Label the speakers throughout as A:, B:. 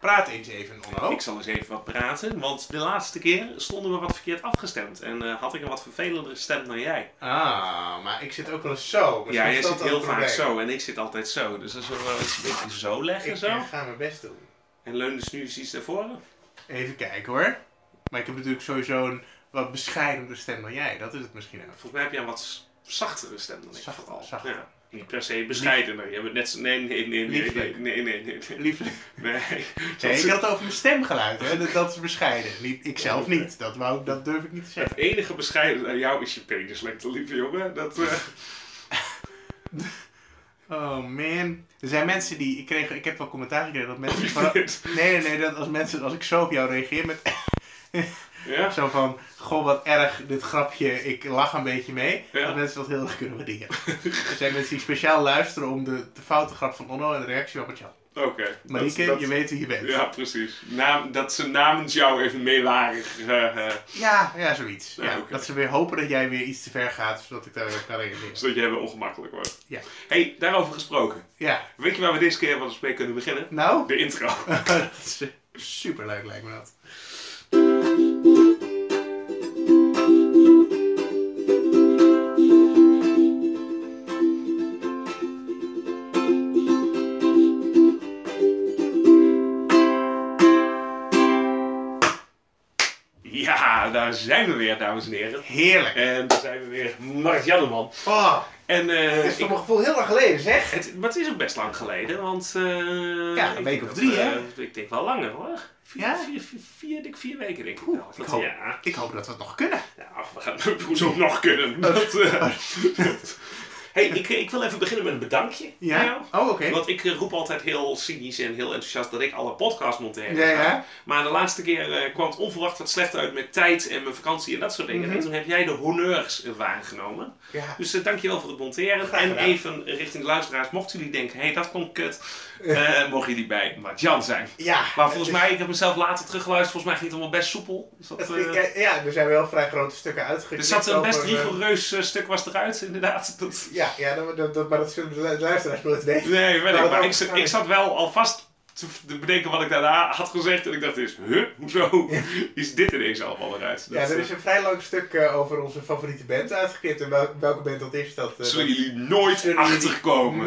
A: Praat eens even, Onno.
B: Ik zal eens even wat praten, want de laatste keer stonden we wat verkeerd afgestemd. En eh, had ik een wat vervelender stem dan jij.
A: Ah, maar ik zit ook wel eens zo. Misschien
B: ja, jij
A: is dat
B: zit
A: ook
B: heel
A: een
B: vaak
A: probleem.
B: zo en ik zit altijd zo. Dus dan zullen we eens een beetje zo leggen
A: Ik
B: zo.
A: eh, ga mijn best doen.
B: En leun dus nu eens iets naar voren.
A: Even kijken hoor. Maar ik heb natuurlijk sowieso een wat bescheidener stem dan jij. Dat is het misschien ook.
B: Volgens mij heb jij een wat s- zachtere stem dan ik
A: Zachter,
B: vooral.
A: zachter.
B: Ja. Niet per se bescheidener. Je hebt het net zo... Nee, nee, nee, nee, nee,
A: Lieflijk.
B: nee, nee, nee. nee.
A: Liefde.
B: Nee.
A: Nee, ik had het over mijn stemgeluid. Hè? Dat, dat is bescheiden. Niet, ik zelf niet. Dat, wou, dat durf ik niet te
B: Het
A: zeggen.
B: enige bescheiden aan jou is je penislengte, lieve jongen. Dat, eh,
A: Oh man. Er zijn mensen die... Ik, kreeg, ik heb wel commentaar gekregen dat mensen... Van, nee, nee, nee. Dat als, mensen, als ik zo op jou reageer met...
B: ja.
A: Zo van... Goh, wat erg. Dit grapje. Ik lach een beetje mee.
B: Ja.
A: Dat mensen dat heel erg kunnen waarderen. er zijn mensen die speciaal luisteren om de, de foute grap van Onno en de reactie van Jan.
B: Oké.
A: Marieke,
B: Dat- dat-
A: je weet wie je bent.
B: Ja, precies. Naam, dat ze namens jou even meewarig. eh, eh,
A: Ja, ja zoiets.
B: Ja,
A: Ja,
B: oké.
A: Dat ze weer hopen dat jij weer iets te ver gaat, zodat ik daar weer kan reageren.
B: zodat je even ongemakkelijk wordt.
A: Ja.
B: hey, daarover gesproken.
A: Ja,
B: Weet je waar we deze keer wel eens mee kunnen beginnen?
A: nou?
B: De intro.
A: dat is eh, superleuk lijkt me dat.
B: Ja, daar zijn we weer, dames en heren.
A: Heerlijk.
B: En daar zijn we weer, Mark Janneman.
A: Oh,
B: En eh,
A: dat is voor
B: ik-
A: mijn gevoel heel lang geleden zeg.
B: het, maar het is ook best lang geleden, want... eh,
A: Ja, een week
B: ik denk
A: of
B: dat,
A: drie,
B: eh,
A: hè?
B: ik denk wel langer, hoor. Vier,
A: Ja?
B: vier, vier, vier, dik vier weken, denk ik
A: Oeh,
B: wel.
A: ik
B: Dat-
A: hoop-
B: Ja,
A: Ik hoop dat we het nog kunnen.
B: Nou, we gaan het hoezo nog kunnen. Dat, eh, hey, ik, eh, ik wil even beginnen met een bedankje.
A: Ja?
B: Nou,
A: Oh, oké.
B: Want ik eh, roep altijd heel cynisch en heel enthousiast dat ik alle podcasts monteer.
A: Ja, ja.
B: Maar de laatste keer eh, kwam het onverwacht wat slecht uit met tijd en mijn vakantie en dat soort dingen.
A: Mhm.
B: En toen heb jij de honneurs eh, waargenomen.
A: Ja.
B: Dus eh, dankjewel voor het monteren.
A: Graag
B: En
A: gedaan.
B: even richting de luisteraars, mochten jullie denken, hé, hey, dat klonk kut. eh, mogen jullie bij Marjan zijn.
A: ja.
B: Maar volgens mij, ik heb mezelf later teruggeluisterd, volgens mij ging het allemaal best soepel. Dus dat,
A: Het-
B: eh,
A: ja, ja, er zijn wel vrij grote stukken uitgekomen.
B: er zat Dus een best rigoureus eh, stuk was eruit, inderdaad. Dat...
A: eh, Ja, ja dat, dat, dat- maar dat zullen de luisteraars nooit weten.
B: Nee, weet ik.
A: dat
B: Maar ik,
A: ook
B: zat- ik
A: niet.
B: zat wel alvast te te bedenken wat ik daarna had gezegd. En ik dacht eens, huh, hoezo
A: Ja.
B: is dit ineens allemaal eruit?
A: Ja,
B: Dat, eh,
A: er is een vrij lang stuk eh, over onze favoriete band uitgeknipt. En wel- welke band dat is, dat, eh,
B: eh,
A: dat
B: zullen jullie nooit
A: Zullen jullie
B: achterkomen.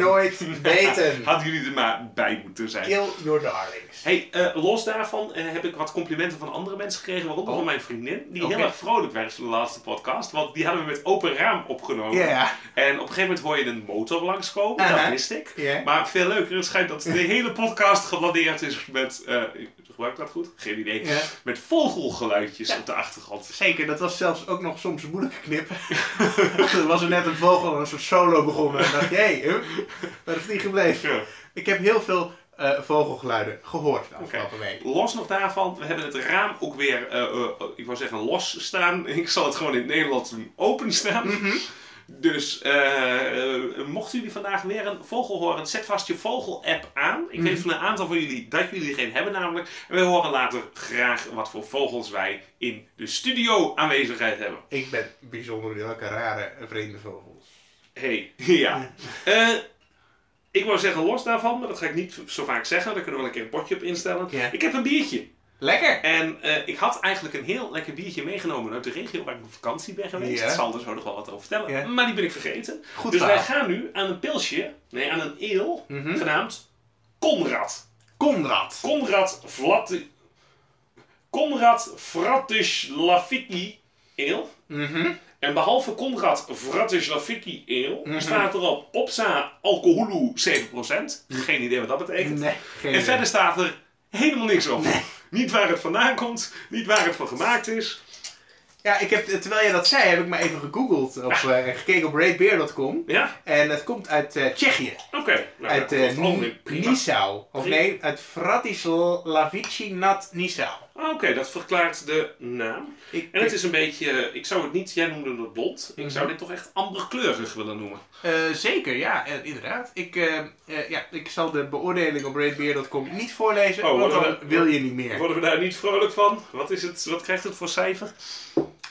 A: nooit weten.
B: Hadden jullie er maar bij moeten zijn.
A: Kill your darlings.
B: Hey, eh, los daarvan eh, heb ik wat complimenten van andere mensen gekregen, waaronder
A: Oh.
B: van mijn vriendin, die
A: Oké.
B: heel erg vrolijk werd van de laatste podcast, want die hadden we met open raam opgenomen.
A: Ja,
B: En op een gegeven moment hoor je een motor langskomen, dat
A: Aha.
B: wist ik.
A: ja.
B: Maar veel leuker, het schijnt dat de hele podcast gebladeerd is met. eh, gebruik ik dat goed? Geen idee.
A: Ja.
B: Met vogelgeluidjes
A: Ja.
B: op de achtergrond.
A: Zeker, dat was zelfs ook nog soms moeilijk knippen. er was er net een vogel en een soort solo begonnen. En dacht je, hé, huh? waar is die gebleven?
B: Ja.
A: Ik heb heel veel eh, vogelgeluiden gehoord de
B: Oké.
A: afgelopen week.
B: Los nog daarvan, we hebben het raam ook weer, eh, eh, ik wou zeggen los staan. Ik zal het gewoon in het Nederlands doen, open staan.
A: Mhm.
B: Dus eh, eh, mochten jullie vandaag weer een vogel horen, zet vast je vogel-app aan. Ik weet van een aantal van jullie dat jullie geen hebben namelijk. En we horen later graag wat voor vogels wij in de studio aanwezigheid hebben.
A: Ik ben bijzonder welke rare vreemde vogels.
B: Hey, ja. Eh, ik wou zeggen los daarvan, maar dat ga ik niet zo vaak zeggen. Daar kunnen we wel een keer een potje op instellen.
A: Ja.
B: Ik heb een biertje.
A: Lekker!
B: En eh, ik had eigenlijk een heel lekker biertje meegenomen uit de regio waar ik op vakantie ben geweest.
A: Ja.
B: Ik zal er zo nog wel wat over vertellen.
A: Ja.
B: Maar die ben ik vergeten.
A: Goed
B: dus wij
A: verhaal.
B: gaan nu aan een pilsje, nee, aan een eel,
A: Mhm.
B: genaamd Conrad.
A: Konrad.
B: Conrad Vlat... Conrad Vratislavicki eel.
A: Mhm.
B: En behalve Konrad Vratislavicki eel staat erop Opsa Alkoholu 7%. Geen idee wat dat betekent.
A: Nee, geen
B: en
A: idee.
B: verder staat er helemaal niks op. Niet waar het vandaan komt, niet waar het van gemaakt is.
A: Ja, ik heb, terwijl je dat zei, heb ik maar even gegoogeld op, eh, en gekeken op ratebeer.com.
B: Ja?
A: En het komt uit eh, Tsjechië.
B: Oké. Nou,
A: uit
B: dat
A: eh
B: klopt ook weer. prima.
A: Nisau. Of
B: Prima.
A: nee, uit Vratislavici nad Nisau.
B: Ah, Oké, dat verklaart de naam.
A: Ik,
B: En het is een beetje, eh, ik zou het niet, jij noemde het blond. Ik
A: Mhm.
B: zou dit toch echt amberkleurig willen noemen.
A: eh, zeker, ja, eh, inderdaad. Ik, eh, eh, ja, ik zal de beoordeling op ratebeer.com niet voorlezen,
B: Oh,
A: want
B: wat
A: dan
B: een-
A: wil je niet meer.
B: Worden we daar niet vrolijk van? Wat, is het, wat krijgt het voor cijfer?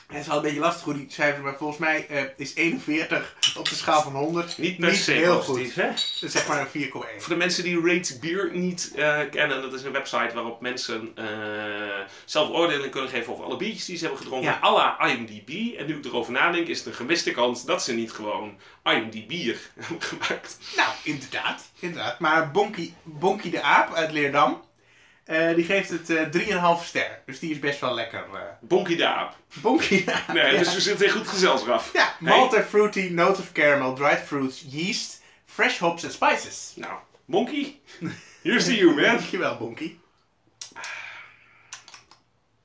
A: Het is wel een beetje lastig hoe die cijfers, maar volgens mij eh, is 41 op de schaal van 100
B: Niet per se
A: heel goed.
B: positief, hè?
A: Dat is zeg maar een 4,1.
B: Voor de mensen die Rate Beer niet eh, kennen, dat is een website waarop mensen eh, zelf oordelen kunnen geven over alle biertjes die ze hebben gedronken.
A: Ja.
B: à la IMDb. En nu ik erover nadenk, is het een gemiste kans dat ze niet gewoon IMDb hebben gemaakt.
A: Nou, inderdaad. inderdaad. Maar Bonkie, Bonkie de Aap uit Leerdam, eh, die geeft het eh 3,5 ster. Dus die is best wel lekker. eh.
B: Bonkie de aap.
A: Bonkie de Aap.
B: Nee,
A: Ah, ja.
B: dus we zitten in goed gezelschap.
A: Ja, malt en fruity, note of caramel, dried fruits, yeast, fresh hops en spices.
B: Nou, Bonkie, here's to you, man.
A: Dankjewel, Bonkie.
B: Ah.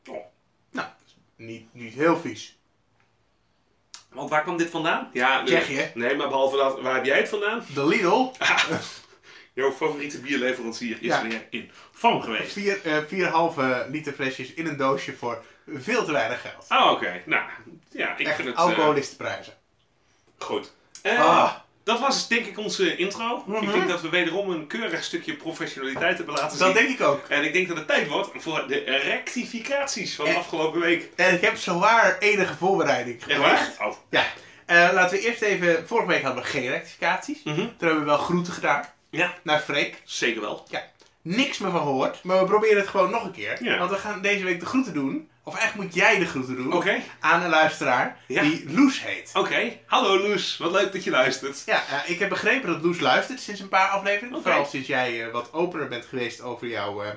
B: Oh.
A: Nou, niet, niet heel vies.
B: Want waar kwam dit vandaan? Ja, nee.
A: Tsjechië.
B: Nee, maar behalve dat, waar heb jij het vandaan?
A: De Lidl,
B: Ah, jouw favoriete bierleverancier is
A: Ja.
B: weer in vorm geweest.
A: 4,5 eh, liter flesjes in een doosje voor veel te weinig geld.
B: Ah, oké. Nou, ja, ik vind
A: Echt
B: het... eh,
A: alcohol is de prijzen.
B: Goed. Eh,
A: Ah.
B: Dat was denk ik onze intro. Ik denk dat we wederom een keurig stukje professionaliteit hebben laten zien.
A: Dat denk ik ook.
B: En ik denk dat het tijd wordt voor de rectificaties van
A: Eh,
B: afgelopen week.
A: En ik heb zowaar enige voorbereiding
B: Echt
A: gemaakt.
B: waar? Oh.
A: Ja. Eh, laten we eerst even... Vorige week hadden we geen rectificaties.
B: Mhm.
A: Toen hebben we wel groeten gedaan
B: Ja,
A: naar Freek.
B: zeker wel.
A: Ja. Niks meer van gehoord. Maar we proberen het gewoon nog een keer.
B: Ja.
A: Want we gaan deze week de groeten doen. Of eigenlijk moet jij de groeten doen.
B: Oké,
A: Aan een luisteraar
B: Ja.
A: die Loes heet.
B: oké. Hallo Loes, wat leuk dat je luistert.
A: Ja, eh, ik heb begrepen dat Loes luistert sinds een paar afleveringen.
B: Oké.
A: Vooral sinds jij eh, wat opener bent geweest over jouw, eh,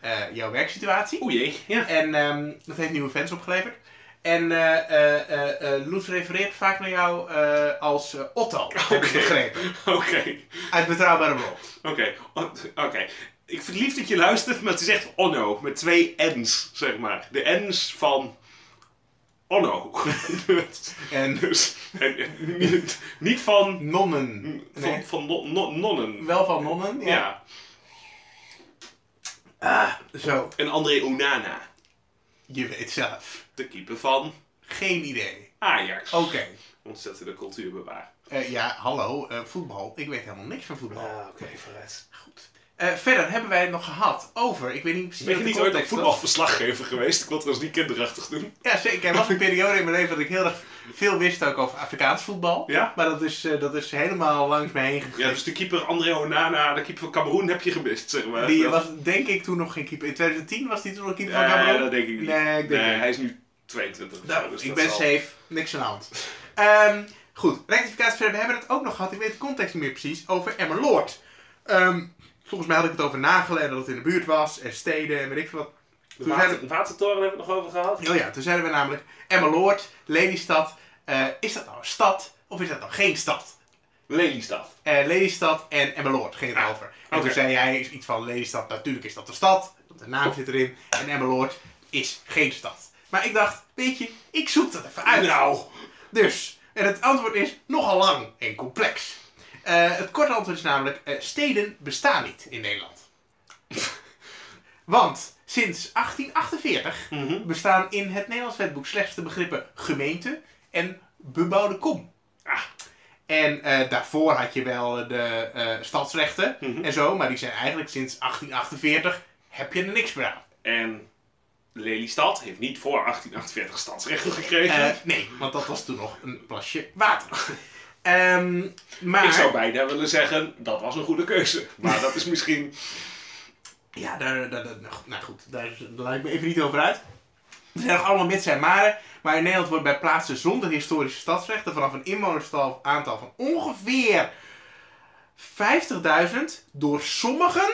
A: eh, jouw werksituatie.
B: O jee, ja.
A: En ehm, dat heeft nieuwe fans opgeleverd. En eh, eh, eh, eh, Loes refereert vaak naar jou eh, als eh, Otto. Heb ik
B: Oké.
A: begrepen.
B: Oké,
A: Uit Betrouwbare Bron.
B: oké. O- Oké. Ik vind het lief dat je luistert, maar het is echt Onno. Met twee N's, zeg maar. De N's van Onno.
A: En
B: dus, en, en niet, niet van,
A: nonnen.
B: van,
A: Nee.
B: van non- non- nonnen.
A: Wel van nonnen, ja.
B: Ja,
A: Zo,
B: en André Onana,
A: je weet zelf.
B: de keeper van
A: Geen idee.
B: Ajax.
A: Oké.
B: Ontzettende cultuurbewaar.
A: Eh, ja, hallo, eh, voetbal. Ik weet helemaal niks van voetbal.
B: oké, vooruit.
A: Eh, verder hebben wij het nog gehad over. Ik weet niet precies.
B: Ben je
A: wat de
B: niet ooit een
A: context Oh. was.
B: voetbalverslaggever geweest? Ik wil het eens niet kinderachtig doen.
A: Ja, zeker. Er was een periode in mijn leven dat ik heel erg veel wist ook over Afrikaans voetbal.
B: Ja?
A: Maar dat is, eh, dat is helemaal langs me heen gegaan.
B: Ja, dus de keeper André Onana, de keeper van Cameroen, heb je gemist, zeg maar.
A: Die
B: Dat-
A: was denk ik toen nog geen keeper. In 2010 was die toen nog keeper
B: Nee,
A: van Cameroen?
B: dat denk ik niet.
A: Nee, ik denk niet.
B: hij is nu 22.
A: Nou,
B: dus
A: ik
B: dat
A: ben
B: zal-
A: safe. Niks aan de hand. Ehm, goed, rectificatie verder. We hebben het ook nog gehad, ik weet de context niet meer precies, over Emmerloord. Ehm volgens mij had ik het over Nagelen en dat het in de buurt was en steden en weet ik veel wat.
B: De
A: Toen
B: water- watertoren hebben we het nog over gehad.
A: Oh ja, toen zeiden we namelijk Emmerloord, Lelystad. eh, is dat nou een stad of is dat nou geen stad?
B: Lelystad.
A: Eh, Lelystad en Emmeloord ging het over. En
B: Ah, oké.
A: toen zei jij iets van Lelystad, natuurlijk is dat een stad, want de naam zit erin. En Emmeloord is geen stad. Maar ik dacht, weet je, ik zoek dat even uit.
B: Nou.
A: Dus, en het antwoord is nogal lang en complex. Eh, het korte antwoord is namelijk, eh, steden bestaan niet in Nederland. Want sinds 1848
B: Mhm.
A: bestaan in het Nederlands wetboek slechts de begrippen gemeente en bebouwde kom.
B: Ah,
A: En eh, daarvoor had je wel de eh, stadsrechten
B: Mhm.
A: en zo, maar die zijn eigenlijk sinds 1848 heb je er niks meer aan.
B: en Lelystad heeft niet voor 1848 stadsrechten gekregen.
A: Eh, nee, want dat was toen nog een plasje water. Ehm, maar
B: Ik zou bijna willen zeggen, dat was een goede keuze. Maar dat is misschien...
A: ja, daar, daar, daar- nou goed, nou goed, daar, daar laat ik me even niet over uit. Er zijn nog allemaal mits en maren, maar in Nederland wordt bij plaatsen zonder historische stadsrechten vanaf een inwonersaantal van ongeveer 50.000 door sommigen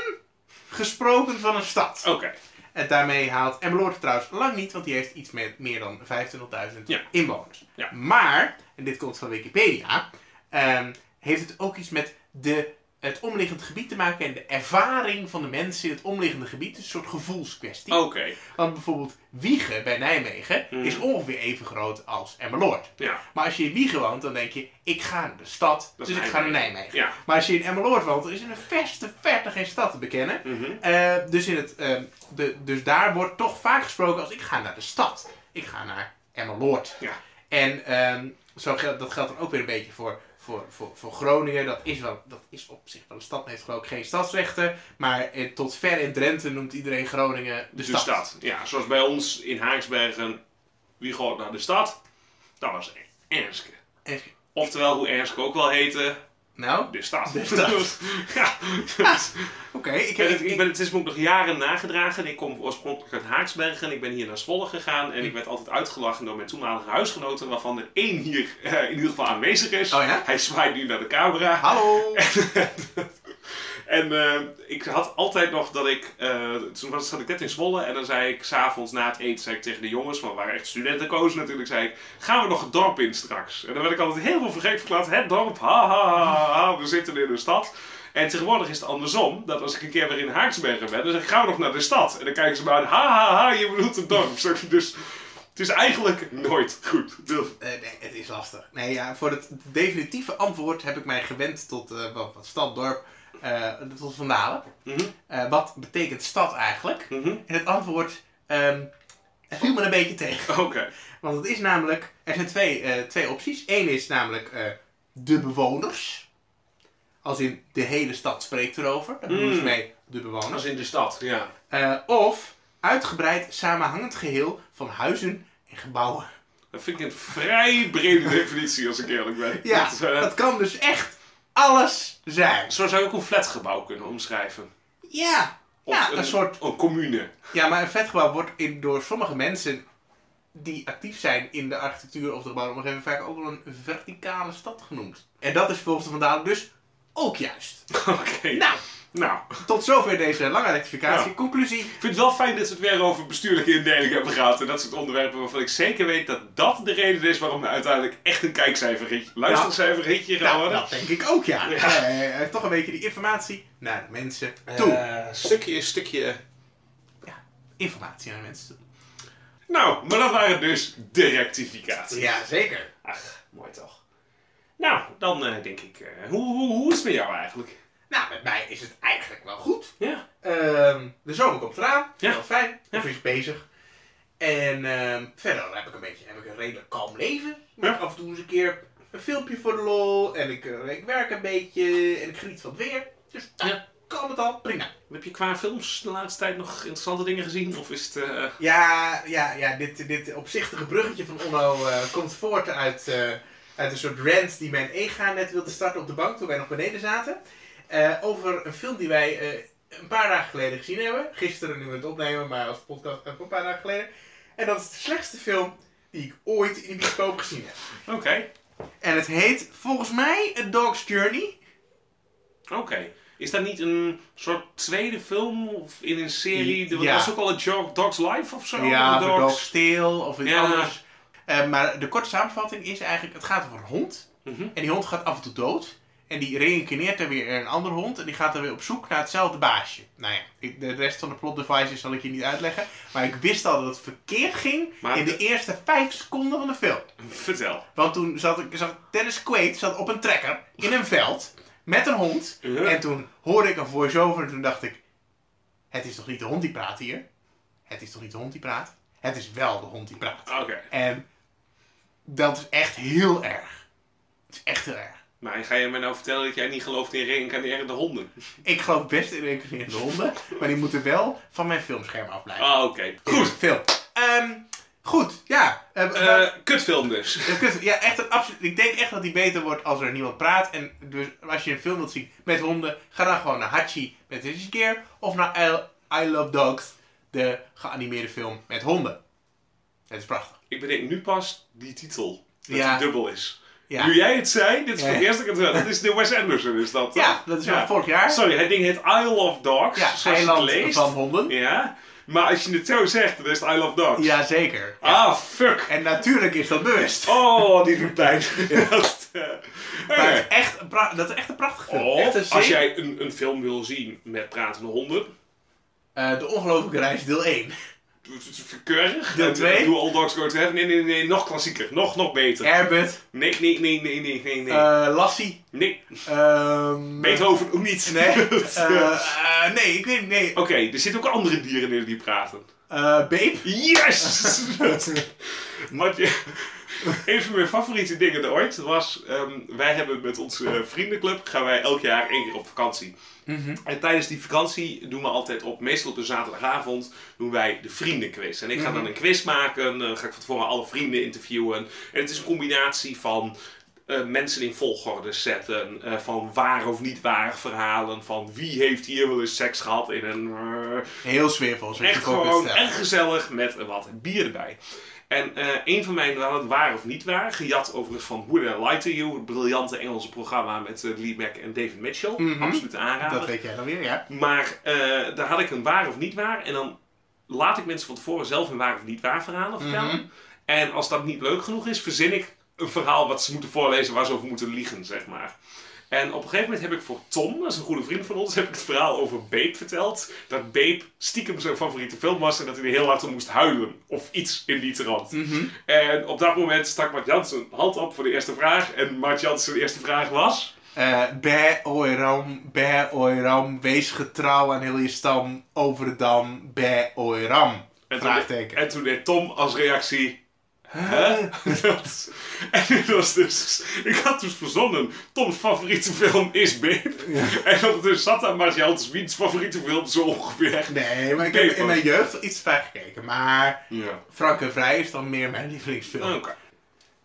A: gesproken van een stad.
B: Oké,
A: En daarmee haalt Emmeloord trouwens lang niet, want die heeft iets met meer dan 25.000
B: Ja.
A: inwoners.
B: Ja.
A: Maar, en dit komt van Wikipedia, ehm, heeft het ook iets met de, het omliggend gebied te maken en de ervaring van de mensen in het omliggende gebied. Dus een soort gevoelskwestie.
B: oké.
A: Want bijvoorbeeld Wiegen bij Nijmegen
B: Hmm.
A: is ongeveer even groot als Emmeloord.
B: Ja,
A: Maar als je in Wiegen woont, dan denk je, ik ga naar de stad,
B: Dat
A: dus
B: is
A: ik ga naar
B: Nijmegen.
A: Nijmegen.
B: ja.
A: Maar als je in Emmeloord woont, dan is er een verste verte geen stad te bekennen.
B: Mhm.
A: Eh, dus, in het, eh, de, dus daar wordt toch vaak gesproken als ik ga naar de stad. Ik ga naar Emmeloord.
B: Ja.
A: En ehm, zo geldt, dat geldt dan ook weer een beetje voor, voor, voor, voor Groningen. Dat is, wel, dat is op zich wel een stad, maar heeft geloof ik geen stadsrechten. Maar eh, tot ver in Drenthe noemt iedereen Groningen de,
B: Dus
A: stad.
B: dat. Ja, zoals bij ons in Haaksbergen Wie gaat naar de stad? Dat was Ernske.
A: En-
B: Oftewel, hoe Ernske ook wel heette,
A: Nou,
B: de stad.
A: De stad.
B: ja. dus
A: oké. ik,
B: Ik ben,
A: ik,
B: het, ik ben, het is me ook nog jaren nagedragen. Ik kom oorspronkelijk uit Haaksbergen. Ik ben hier naar Zwolle gegaan. En ik werd altijd uitgelachen door mijn toenmalige huisgenoten. Waarvan er één hier eh, in ieder geval aanwezig is.
A: Oh ja?
B: Hij zwaait nu naar de camera.
A: Hallo!
B: En eh, ik had altijd nog dat ik. eh, toen was, zat ik net in Zwolle en dan zei ik s'avonds na het eten zei ik tegen de jongens, want we waren echt studentenkozen natuurlijk, zei ik: Gaan we nog het dorp in straks? En dan werd ik altijd helemaal vergeten verklaard: Het dorp, ha ha ha, ha, we zitten in de stad. En tegenwoordig is het andersom, dat als ik een keer weer in Haaksbergen ben, dan zeg ik: Gaan we nog naar de stad? En dan kijken ze me aan: Ha ha ha, je bedoelt het dorp. Zeg ik, Dus het is eigenlijk nooit goed. Dus,
A: Eh, nee, het is lastig. Nee, ja, voor het definitieve antwoord heb ik mij gewend tot eh, wat, wat stad, dorp, eh, tot Vandalen.
B: Mhm,
A: Eh, wat betekent stad eigenlijk?
B: mhm.
A: En het antwoord ehm, het viel me een beetje tegen.
B: Oké.
A: Want het is namelijk, er zijn twee, eh, twee opties. Eén is namelijk eh, de bewoners. Als in de hele stad spreekt erover. Daar bedoelen ze
B: Mm.
A: mee de bewoners.
B: Als in de stad, ja.
A: Eh, of uitgebreid samenhangend geheel van huizen en gebouwen.
B: Dat vind ik een vrij brede definitie, als ik eerlijk ben.
A: Ja,
B: Dat is, eh,
A: dat kan dus echt alles zijn.
B: Zo zou je ook een flatgebouw kunnen omschrijven.
A: Ja,
B: Of
A: ja
B: een,
A: een soort.
B: Een commune.
A: Ja, maar een vetgebouw wordt in, door sommige mensen die actief zijn in de architectuur of de gebouwomgeving vaak ook wel een verticale stad genoemd. En dat is volgens de Vandalen dus ook juist.
B: Oké.
A: Nou,
B: Nou, ik
A: tot zover deze lange rectificatie.
B: Ja.
A: Conclusie.
B: vind het wel fijn dat we het weer over bestuurlijke indeling hebben gehad. En dat soort onderwerpen waarvan ik zeker weet dat dat de reden is waarom we uiteindelijk echt een kijkcijferritje, luistercijferritje gaan
A: Nou,
B: worden.
A: dat denk ik ook, ja.
B: Ja.
A: Eh, eh, toch een beetje die informatie naar de mensen toe.
B: Eh, stukje, stukje.
A: Informatie naar de mensen toe.
B: Nou, maar dat waren dus de rectificaties.
A: Ja, zeker.
B: Ach, mooi toch. Nou, dan eh, denk ik, eh, hoe, hoe, hoe is het met jou eigenlijk?
A: Nou, met mij is het eigenlijk wel goed.
B: Ja.
A: Ehm, de zomer komt eraan.
B: Ja.
A: Wel fijn.
B: Ja.
A: Of is bezig. En ehm, verder heb ik een beetje heb ik een redelijk kalm leven. Ik maak af en toe eens een keer een filmpje voor de lol. En ik, eh, ik werk een beetje. En ik geniet van het weer. Dus nou,
B: Ja.
A: kalm het al. Prima.
B: Heb je qua films de laatste tijd nog interessante dingen gezien? Of is het... eh,
A: Ja, ja, ja dit, dit opzichtige bruggetje van Onno eh, komt voort uit, eh, uit een soort rant die mijn ega net wilde starten op de bank toen wij nog beneden zaten. Eh, over een film die wij eh, een paar dagen geleden gezien hebben. Gisteren nu we het opnemen, maar als podcast ook een paar dagen geleden. En dat is de slechtste film die ik ooit in de bioscoop gezien heb.
B: Oké,
A: En het heet volgens mij A Dog's Journey.
B: oké. Is dat niet een soort tweede film of in een serie? Dat
A: Ja.
B: was ook al een Jog- Dog's Life of zo?
A: ja,
B: Of
A: of A Dog's Tale of iets
B: Ja.
A: anders. Eh, maar de korte samenvatting is eigenlijk, het gaat over een hond.
B: Mhm.
A: En die hond gaat af en toe dood. En die reïncarneert er weer een andere hond. En die gaat dan weer op zoek naar hetzelfde baasje. Nou ja, ik- de rest van de plot devices zal ik je niet uitleggen. Maar ik wist al dat het verkeerd ging
B: Maar
A: in de,
B: de-
A: eerste vijf seconden van de film.
B: Vertel.
A: Want toen zat ik, zag Dennis Quaid zat op een trekker in een veld met een hond.
B: Ja.
A: En toen hoorde ik een voice-over en toen dacht ik... Het is toch niet de hond die praat hier? Het is toch niet de hond die praat? Het is wel de hond die praat.
B: Oké,
A: En dat is echt heel erg. Het is echt heel erg.
B: maar ga je mij nou vertellen dat jij niet gelooft in reïncarnerende honden?
A: Ik geloof best in reïncarnerende honden, maar die moeten wel van mijn filmscherm afblijven.
B: Ah, oké. Goed.
A: Film. Ehm, goed, ja. Eh,
B: Eh,
A: maar-
B: kutfilm dus.
A: eh, kut, ja, echt een absoluut. Ik denk echt dat die beter wordt als er niemand praat. En dus als je een film wilt zien met honden, ga dan gewoon naar Hachi met de keer of naar I, I Love Dogs, de geanimeerde film met honden. Het is prachtig.
B: Ik bedenk nu pas die titel. Dat
A: Ja.
B: die dubbel is.
A: Ja,
B: Nu jij het zei, dit is
A: Ja,
B: voor het
A: ja.
B: eerst dat ik het hoor. Dat is de Wes Anderson, is dat?
A: ja
B: toch?
A: dat is
B: Ja.
A: van vorig jaar.
B: Sorry, het ding heet Isle of Dogs.
A: Ja,
B: zoals je het
A: eiland
B: leest.
A: van honden.
B: Ja, maar als je het zo zegt, dan is het I Love Dogs.
A: Jazeker. Ja.
B: Ah, fuck.
A: En natuurlijk is dat bewust.
B: Oh, die doet pijn. Dat, eh,
A: Maar het
B: oké.
A: is echt een pra- dat is echt een prachtige film. Echt een
B: Of als
A: zeer-
B: jij een, een film wil zien met pratende honden,
A: Eh, de Ongelofelijke Reis, deel 1.
B: doe het verkeurig.
A: Deel
B: En eh,
A: twee?
B: Doe All Dogs Go To Heaven. Nee, nee, nee, nog klassieker. Nog, nog beter.
A: Herbert,
B: Nee, nee, nee, nee, nee, nee, nee.
A: eh, Lassie.
B: nee.
A: ehm,
B: Beethoven ook niet.
A: Nee,
B: Dat,
A: eh,
B: eh,
A: eh, nee, ik weet het niet.
B: Oké, er zitten ook andere dieren in die praten.
A: Eh, Babe.
B: Yes! maar je- Een van mijn favoriete dingen ooit was, ehm, wij hebben met onze eh, vriendenclub, gaan wij elk jaar één keer op vakantie. En tijdens die vakantie doen we altijd op, meestal op een zaterdagavond, doen wij de vriendenquiz. En ik ga dan een quiz maken, eh, ga ik van tevoren alle vrienden interviewen. En het is een combinatie van eh, mensen in volgorde zetten, eh, van waar of niet waar verhalen, van wie heeft hier wel eens seks gehad in een... eh,
A: Heel sfeervol. zoals
B: Echt
A: je ook
B: gewoon
A: net
B: en
A: stelt.
B: gezellig met wat bier erbij. En eh, een van mijn waar, het waar of niet waar, gejat overigens van Would I Lie to You, het briljante Engelse programma met eh, Lee Mack en David Mitchell.
A: Mhm.
B: Absoluut aanraden.
A: Dat weet jij dan weer, ja.
B: Maar eh, daar had ik een waar of niet waar. En dan laat ik mensen van tevoren zelf een waar of niet waar verhalen vertellen.
A: Mhm.
B: En als dat niet leuk genoeg is, verzin ik een verhaal wat ze moeten voorlezen waar ze over moeten liegen, zeg maar. En op een gegeven moment heb ik voor Tom, dat is een goede vriend van ons, heb ik het verhaal over Babe verteld. Dat Babe stiekem zijn favoriete film was en dat hij er heel hard om moest huilen. Of iets in die trant.
A: Mhm.
B: En op dat moment stak Mart Jans een hand op voor de eerste vraag. En Mart Jans zijn eerste vraag was...
A: Eh Bè oiram, bè oiram, wees getrouw aan heel je stam, over de dam, bè oiram.
B: En toen,
A: Vraagteken.
B: en toen deed Tom als reactie. Hè? Dat- en dit was dus. Ik had dus verzonnen. Toms favoriete film is Babe. En ondertussen zat daar Martial te wiens favoriete film zo ongeveer.
A: Nee, maar ik heb
B: Nee,
A: in mijn jeugd wel iets vaak gekeken, maar
B: Ja.
A: Frank en Vrij is dan meer mijn lievelingsfilm.
B: Oké.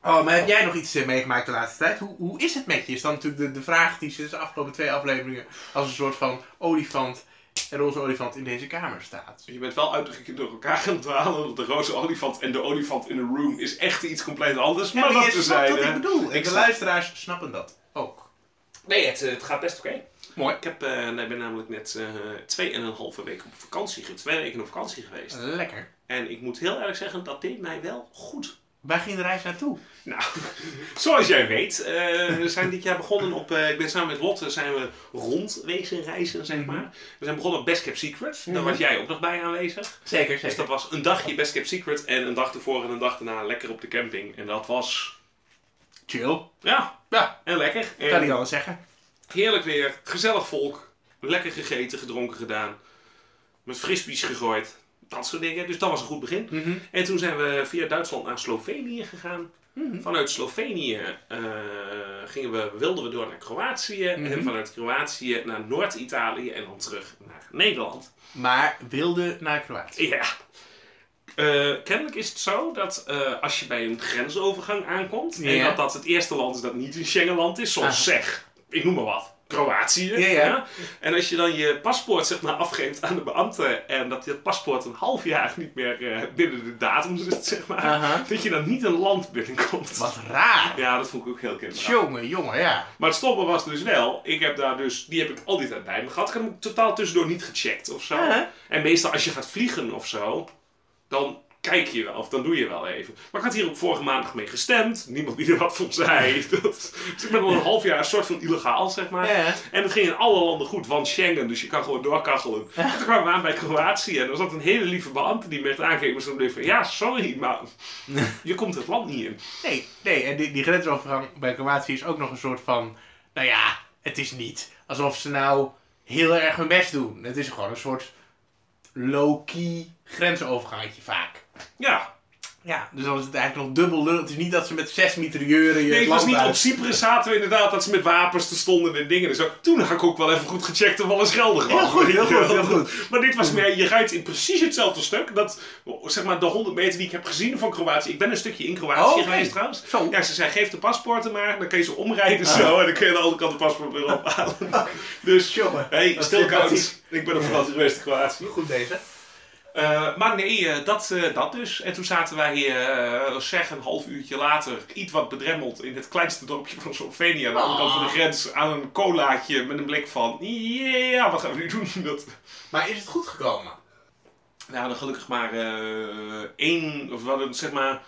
A: Oh, maar heb jij nog iets eh, meegemaakt de laatste tijd? Hoe, hoe is het met je? Is dan natuurlijk de, de vraag die sinds de afgelopen twee afleveringen als een soort van olifant, een roze olifant in deze kamer staat.
B: Je bent wel uitgekeken door elkaar gaan dwalen. want De roze olifant en de olifant in the room is echt iets compleet anders.
A: Ja,
B: maar
A: maar
B: dat
A: je
B: te
A: snapt
B: zijn.
A: wat ik bedoel. En de
B: snap-
A: luisteraars snappen dat ook.
B: Nee, het, eh, het gaat best oké.
A: Mooi.
B: Ik heb, eh, ik ben namelijk net eh, twee en een halve week op vakantie geweest. Twee weken op vakantie geweest.
A: Lekker.
B: En ik moet heel eerlijk zeggen, dat deed mij wel goed.
A: Waar ging de reis naartoe?
B: Nou, zoals jij weet, eh, we zijn dit jaar begonnen op. eh, ik ben samen met Lotte zijn we rondwezen reizen,
A: Mhm.
B: zeg maar. We zijn begonnen op Best Kept Secret. Daar was jij ook nog bij aanwezig.
A: Zeker,
B: Dus dat was een dagje Best Kept Secret en een dag ervoor en een dag daarna lekker op de camping. En dat was.
A: Chill.
B: Ja,
A: Ja,
B: en lekker. En
A: kan niet anders zeggen.
B: Heerlijk weer, gezellig volk. Lekker gegeten, gedronken gedaan. Met frisbees gegooid. Dat soort dingen. Dus dat was een goed begin.
A: Mhm.
B: En toen zijn we via Duitsland naar Slovenië gegaan.
A: Mhm.
B: Vanuit Slovenië eh, gingen we, wilden we door naar Kroatië.
A: Mhm.
B: En vanuit Kroatië naar Noord-Italië en dan terug naar Nederland.
A: Maar wilde naar Kroatië.
B: Ja. Eh, kennelijk is het zo dat eh, als je bij een grensovergang aankomt, en
A: Ja.
B: dat dat het eerste land is dat niet een Schengenland is, zoals
A: Ah.
B: zeg, ik noem maar wat, Kroatië.
A: Ja, ja.
B: En als je dan je paspoort zeg maar, afgeeft aan de beambte en dat je paspoort een half jaar niet meer eh, binnen de datum zit, zeg maar,
A: Aha.
B: dat je dan niet een land binnenkomt.
A: Wat raar.
B: Ja, dat vond ik ook heel kinderachtig.
A: Jongen, jongen, ja.
B: Maar het stomme was dus wel, ik heb daar dus, die heb ik al die tijd bij me gehad. Ik heb hem totaal tussendoor niet gecheckt of zo.
A: Ja, hè?
B: En meestal als je gaat vliegen of zo, dan kijk je wel of dan doe je wel even. Maar ik had hier ook vorige maandag mee gestemd. Niemand die er wat van zei. Dat, dus ik ben al een half jaar een soort van illegaal, zeg maar.
A: Ja.
B: En het ging in alle landen goed, want Schengen, dus je kan gewoon doorkachelen. En Toen kwamen we aan bij Kroatië en er zat een hele lieve beambte die me echt aankeek. Maar ze bleef van, ja, sorry, maar je komt het land niet in.
A: Nee, nee. En die, die grensovergang bij Kroatië is ook nog een soort van... Nou ja, het is niet alsof ze nou heel erg hun best doen. Het is gewoon een soort low-key grensovergangetje vaak.
B: Ja,
A: Ja, dus dan is het eigenlijk nog dubbel lul. Het is niet dat ze met zes mitrailleuren je het
B: Nee, het was
A: land
B: niet op
A: uit-
B: Cyprus zaten we inderdaad dat ze met wapens te stonden en dingen en zo. Toen had ik ook wel even goed gecheckt of alles geldig was.
A: Heel goed, heel goed, heel
B: Maar dit was meer, je rijdt in precies hetzelfde stuk. Dat, zeg maar, de 100 meter die ik heb gezien van Kroatië. Ik ben een stukje in Kroatië
A: Oh, oké.
B: geweest trouwens.
A: Zo. Ah.
B: Ja, ze zei, geef de paspoorten maar. Dan kun je ze omrijden zo. En dan kun je aan de andere kant de paspoort weer ophalen. dus,
A: Jongen,
B: hey,
A: wat
B: stil
A: sympathiek.
B: koud. Ik ben op vakantie geweest in Kroatië.
A: Goed deze.
B: Eh, maar nee, eh, dat, eh, dat dus. En toen zaten wij, eh, zeg een half uurtje later, iets wat bedremmeld in het kleinste dorpje van Slovenië, aan de andere kant van de grens, aan een colaatje met een blik van, ja, wat gaan we nu doen? Dat...
A: Maar is het goed gekomen?
B: We hadden gelukkig maar eh, één, of we hadden zeg maar,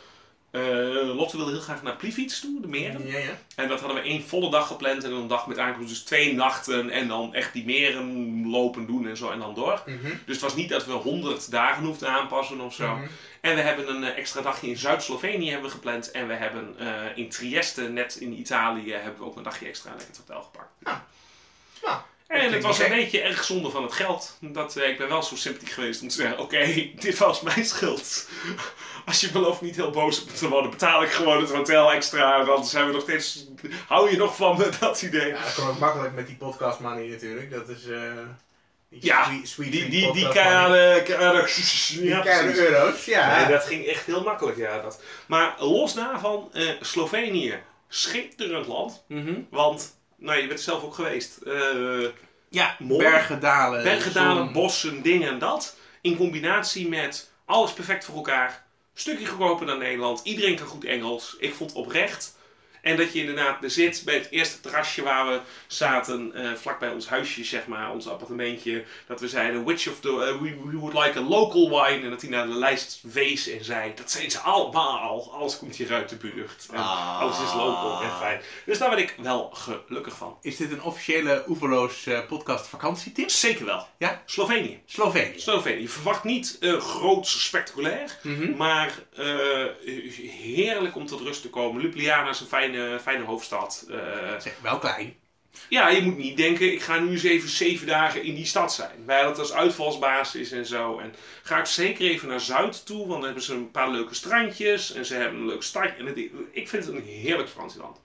B: eh, Lotte wilde heel graag naar Plivits toe, de meren.
A: Ja, ja.
B: En dat hadden we één volle dag gepland en een dag met aankomst. Dus twee nachten en dan echt die meren lopen doen en zo en dan door.
A: Mhm.
B: Dus het was niet dat we 100 dagen hoefden aanpassen of zo.
A: Mhm.
B: En we hebben een eh, extra dagje in Zuid-Slovenië hebben we gepland. En we hebben eh, in Trieste, net in Italië, hebben we ook een dagje extra lekker het hotel gepakt.
A: Nou, nou,
B: En het
A: klinkt
B: was
A: niet
B: een
A: gek.
B: beetje erg zonde van het geld. Dat, eh, ik ben wel zo sympathiek geweest om te zeggen: Oké, dit was mijn schuld. Als je belooft niet heel boos op me te worden, betaal ik gewoon het hotel extra. Want anders zijn we nog steeds. Hou je nog van me, dat idee?
A: Ja, dat kan ook makkelijk met die podcast money natuurlijk. Dat is. eh die
B: Ja,
A: sweet, sweet,
B: Die,
A: sweet
B: die, die
A: podcast money.
B: keiharde. keiharde-
A: Die
B: Ja,
A: keiharde
B: precies.
A: euro's, ja.
B: Nee, dat ging echt heel makkelijk, ja. Dat. Maar los daarvan, eh, Slovenië, schitterend land.
A: Mhm.
B: Want, nou, je bent er zelf ook geweest. Eh
A: Ja,
B: Mooi.
A: bergen, dalen.
B: bergedalen,
A: Eh, zon.
B: bossen, dingen en dat. In combinatie met alles perfect voor elkaar. Stukje goedkoper dan Nederland. Iedereen kan goed Engels. Ik vond oprecht. En dat je inderdaad er zit bij het eerste terrasje waar we zaten, eh, vlak vlakbij ons huisje, zeg maar, ons appartementje. Dat we zeiden, which of the, eh, we, we would like a local wine. En dat hij naar de lijst wees en zei, dat zijn ze allemaal. Alles komt hier uit de buurt. En
A: Ah.
B: Alles is local en fijn. Dus daar werd ik wel gelukkig van.
A: Is dit een officiële Oeverloos eh, podcast vakantietip?
B: Zeker wel.
A: Ja?
B: Slovenië.
A: Slovenië.
B: Slovenië. Je verwacht niet eh groots spectaculair,
A: Mhm.
B: maar eh, heerlijk om tot rust te komen. Ljubljana is een fijne, fijne hoofdstad. Eh,
A: Zeg, wel klein.
B: ja, je moet niet denken, ik ga nu eens even zeven dagen in die stad zijn. Wij hadden het als uitvalsbasis en zo. En ga ik zeker even naar Zuid toe, want dan hebben ze een paar leuke strandjes en ze hebben een leuk stadje. En het- ik vind het een heerlijk vakantieland.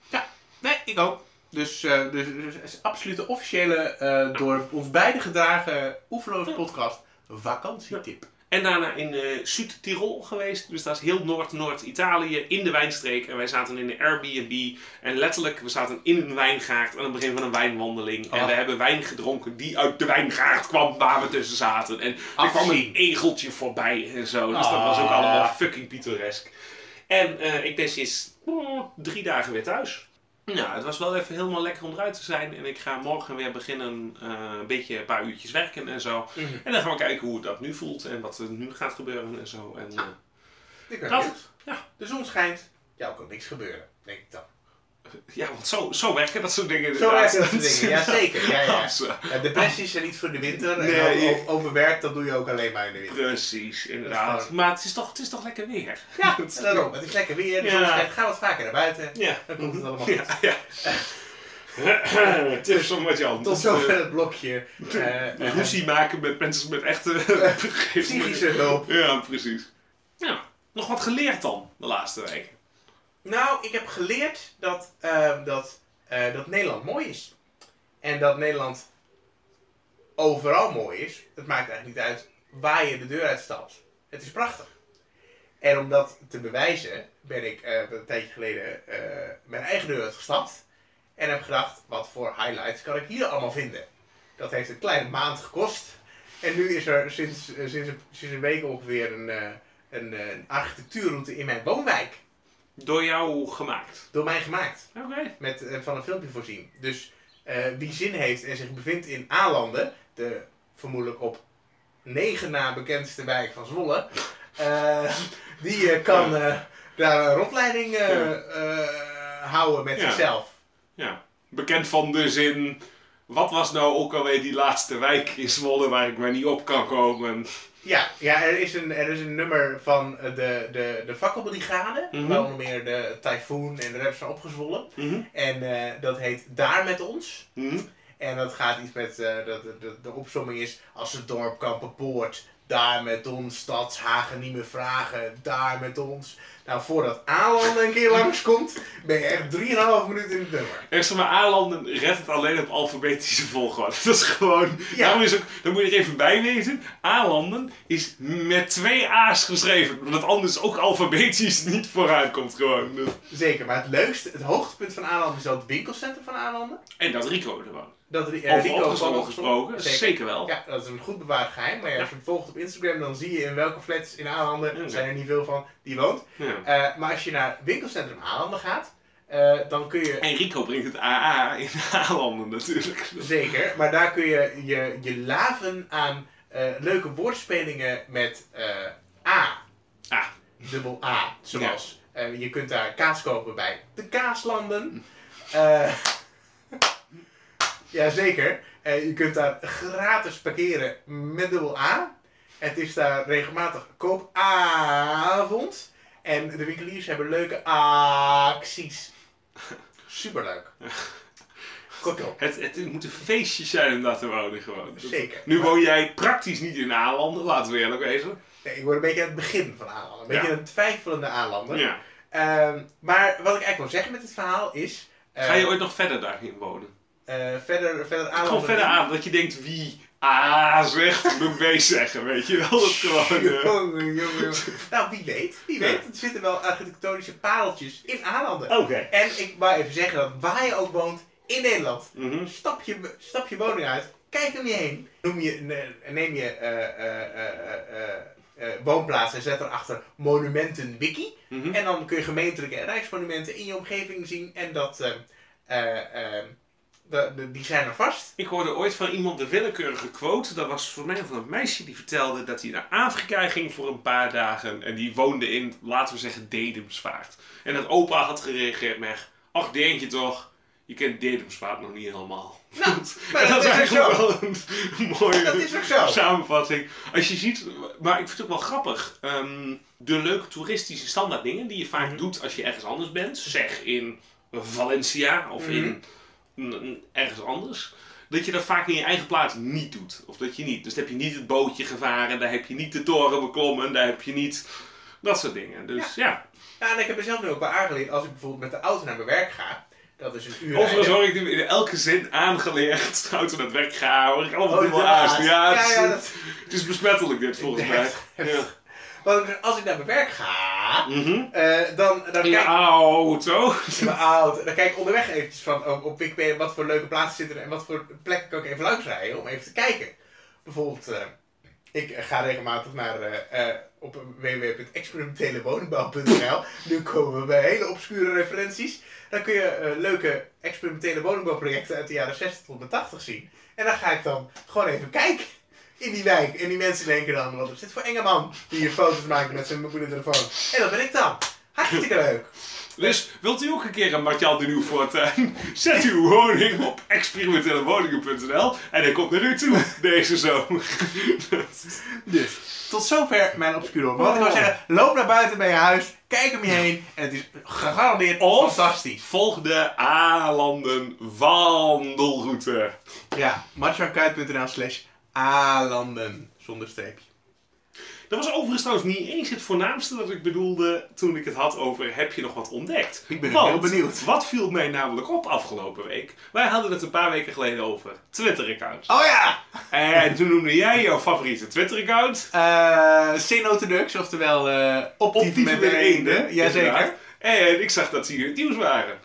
A: Nee, ik ook. Dus, eh, dus, dus het is absoluut de officiële, eh, door ons beide gedragen Oeverloos podcast vakantietip.
B: En daarna in eh Zuid-Tirol geweest. Dus dat is heel Noord-Noord-Italië, in de wijnstreek. En wij zaten in een Airbnb. En letterlijk, we zaten in een wijngaard aan het begin van een wijnwandeling. En
A: Ah.
B: we hebben wijn gedronken die uit de wijngaard kwam waar we tussen zaten. En er kwam een
A: Afzien.
B: egeltje voorbij en zo. Dus dat was ook
A: Ah.
B: allemaal fucking pittoresk. En eh, ik ben sinds mm, drie dagen weer thuis. Nou, het was wel even helemaal lekker om eruit te zijn. En ik ga morgen weer beginnen, eh, een beetje een paar uurtjes werken en zo.
A: Mhm.
B: En dan gaan we kijken hoe het dat nu voelt en wat er nu gaat gebeuren en zo. En, eh,
A: Ik ben
B: Dat-
A: benieuwd.
B: ja.
A: De zon schijnt. Ja, ook kan niks gebeuren, denk ik dan.
B: ja, want zo, zo werken dat soort dingen
A: Zo
B: inderdaad.
A: werken dat soort dingen, ja zeker. Ja, ja.
B: Absoluut.
A: Ja, depressies zijn niet voor de winter. En
B: Nee.
A: o- o- overwerk, dat doe je ook alleen maar in de winter.
B: Precies,
A: Dat is
B: inderdaad.
A: gewoon-
B: Maar het is toch, het is toch lekker weer?
A: Ja, daarom. Het is lekker weer, de zon
B: Ja.
A: schijnt. Ga wat vaker naar buiten.
B: Ja.
A: Dan komt het allemaal goed.
B: Ja, ja. Het is om wat je anders.
A: Tot zover het blokje. eh,
B: Eh, ruzie maken met mensen met echte
A: Psychische hulp.
B: Ja, precies. Ja, nog wat geleerd dan de laatste weken.
A: Nou, ik heb geleerd dat, ehm, dat, eh, dat Nederland mooi is. En dat Nederland overal mooi is. Het maakt eigenlijk niet uit waar je de deur uitstapt. Het is prachtig. En om dat te bewijzen, ben ik eh, een tijdje geleden eh, mijn eigen deur uitgestapt. En heb gedacht, wat voor highlights kan ik hier allemaal vinden? Dat heeft een kleine maand gekost. En nu is er sinds, eh, sinds, een, sinds een week ongeveer een, eh, een, eh, een architectuurroute in mijn woonwijk
B: Door jou gemaakt.
A: door mij gemaakt
B: Oké.
A: met, eh, van een filmpje voorzien. Dus eh, wie zin heeft en zich bevindt in Aalanden, de vermoedelijk op negen na bekendste wijk van Zwolle, eh, die eh, kan eh, daar een rondleiding eh,
B: Ja.
A: eh, houden met
B: Ja.
A: zichzelf.
B: Ja, bekend van de zin. Wat was nou ook alweer die laatste wijk in Zwolle waar ik maar niet op kan komen?
A: Ja, ja er, is een, er is een nummer van eh, de, de, de fakkelbrigade,
B: Mhm.
A: waar onder meer de Typhoon en de rest zijn opgezwollen.
B: Mhm.
A: En eh, dat heet Daar met ons.
B: Mhm.
A: En dat gaat iets met, eh, dat de, de, de opzomming is, als het dorp Kampenpoort, daar met ons, Stadshagen niet meer vragen, daar met ons. Nou, voordat Aalanden een keer langskomt, ben je echt 3,5 minuten in het nummer.
B: En zeg maar, A-landen redt het alleen op alfabetische volgorde. Dat is gewoon...
A: Ja.
B: Daarom is ook, daar moet je er even bij weten. A-landen is met twee A's geschreven. Omdat anders ook alfabetisch niet vooruit komt gewoon. Dus-
A: Zeker, maar het leukste, het hoogtepunt van Aalanden is wel het winkelcentrum van Aalanden.
B: En dat Rico er woont.
A: Dat Ri- eh,
B: Over
A: Rico
B: opgezwollen
A: van
B: gesproken,
A: Zeker.
B: zeker, wel.
A: Ja, dat is een goed bewaard geheim, maar ja,
B: Ja.
A: als je hem volgt op Instagram, dan zie je in welke flats in Aalanden,
B: Ja.
A: zijn er niet veel van, die woont.
B: Ja.
A: Eh, maar als je naar winkelcentrum Aalanden gaat, eh, dan kun je
B: En Rico brengt het AA in A-landen natuurlijk.
A: Zeker, maar daar kun je je, je laven aan eh, leuke woordspelingen met eh, A,
B: Ah,
A: dubbel A, zoals. eh, je kunt daar kaas kopen bij de kaaslanden. Eh Jazeker, Eh, je kunt daar gratis parkeren met dubbel A. Het is daar regelmatig koopavond. En de winkeliers hebben leuke acties. Superleuk. Goed op.
B: Het, het moet een feestje zijn om daar te wonen gewoon. Dat-
A: Zeker.
B: Nu woon jij praktisch niet in aanlanden, laten we eerlijk wezen.
A: Nee, ik word een beetje aan het begin van aanlanden. Een
B: Ja.
A: beetje een twijfelende aanlander.
B: Ja.
A: Ehm, maar wat ik eigenlijk wil zeggen met dit verhaal is... eh,
B: Ga je ooit nog verder daarin wonen?
A: eh, verder, verder aanlanden...
B: Gewoon verder aan, dat je denkt wie A zegt, moet B zeggen, weet je wel. Dat gewoon, eh,
A: Jongen, jongen, jongen. Nou, wie weet. Wie
B: Ja. Oh.
A: weet. Er zitten wel architectonische pareltjes in aanlanden.
B: Oké.
A: En ik wou even zeggen dat waar je ook woont in Nederland,
B: Mhm.
A: stap je, stap je woning uit, kijk om je heen, noem je, ne- neem je eh, eh, eh, eh, eh, eh, woonplaats en zet erachter monumentenwiki.
B: Mhm.
A: En dan kun je gemeentelijke en rijksmonumenten in je omgeving zien en dat, eh, eh, eh, de- de- die zijn er vast.
B: Ik hoorde ooit van iemand de willekeurige quote. Dat was voor mij van een meisje die vertelde dat hij naar Afrika ging voor een paar dagen. En die woonde in, laten we zeggen, Dedemsvaart. En dat opa had gereageerd met: Ach, deentje toch, je kent Dedemsvaart nog niet helemaal.
A: Nou, maar
B: En
A: dat, is ook
B: eigenlijk
A: zo.
B: wel een mooie
A: Dat is ook zo.
B: samenvatting. Als je ziet, maar ik vind het ook wel grappig. ehm, de leuke toeristische standaard dingen die je vaak doet als je ergens anders bent. Zeg in Valencia of in n- n- ergens anders. Dat je dat vaak in je eigen plaats niet doet. Of dat je niet. Dus daar heb je niet het bootje gevaren, daar heb je niet de toren beklommen, daar heb je niet. Dat soort dingen. Dus ja.
A: Ja, en ik heb er zelf nu ook bij aangeleerd, als ik bijvoorbeeld met de auto naar mijn werk ga, dat is een uur
B: Overigens
A: rijden.
B: hoor ik hem in elke zin aangeleerd. Houdt er het werk gaan, hoor ik allemaal dubbel
A: Oh, inderdaad.
B: aan. Ja, het is,
A: ja, dat-
B: het is besmettelijk dit volgens mij.
A: Echt,
B: Ja.
A: Want ik- als ik naar mijn werk ga,
B: Mhm.
A: eh, dan, dan
B: In je
A: kijk
B: auto.
A: ik mijn auto. Dan kijk ik onderweg eventjes van oh, op, op Wikipedia wat voor leuke plaatsen zitten er en wat voor plekken kan ik even langs rijden om even te kijken. Bijvoorbeeld, eh, ik ga regelmatig naar eh, eh, op www.experimentelewoningbouw.nl. nu komen we bij hele obscure referenties. Dan kun je eh, leuke experimentele woningbouwprojecten uit de jaren 60 tot de 80 zien. En dan ga ik dan gewoon even kijken. in die wijk. En die mensen denken dan, wat is dit voor enge man die hier foto's maakt met zijn mobiele telefoon. En dat ben ik dan. Hartstikke leuk.
B: Dus wilt u ook een keer een Martjan de Nieuw voortuin? Zet uw woning op experimentelewoningen.nl en hij komt naar u toe deze zomer.
A: Dus, tot zover mijn obscure Wat ik wil zeggen, loop naar buiten bij je huis, kijk om je heen en het is gegarandeerd
B: Of-
A: fantastisch.
B: Volg de A-landen wandelroute.
A: Ja, matchankuit.nl slash alanden, zonder streepje.
B: Dat was overigens trouwens niet eens het voornaamste dat ik bedoelde toen ik het had over heb je nog wat ontdekt.
A: Ik ben
B: Want
A: heel benieuwd.
B: Wat viel mij namelijk op afgelopen week? Wij hadden het een paar weken geleden over Twitter-accounts.
A: Oh ja!
B: En toen noemde jij jouw favoriete Twitter-account.
A: Eh Cenotodux, oftewel eh optieven met de eenden. Jazeker.
B: Inderdaad. En ik zag dat ze hier in het nieuws waren.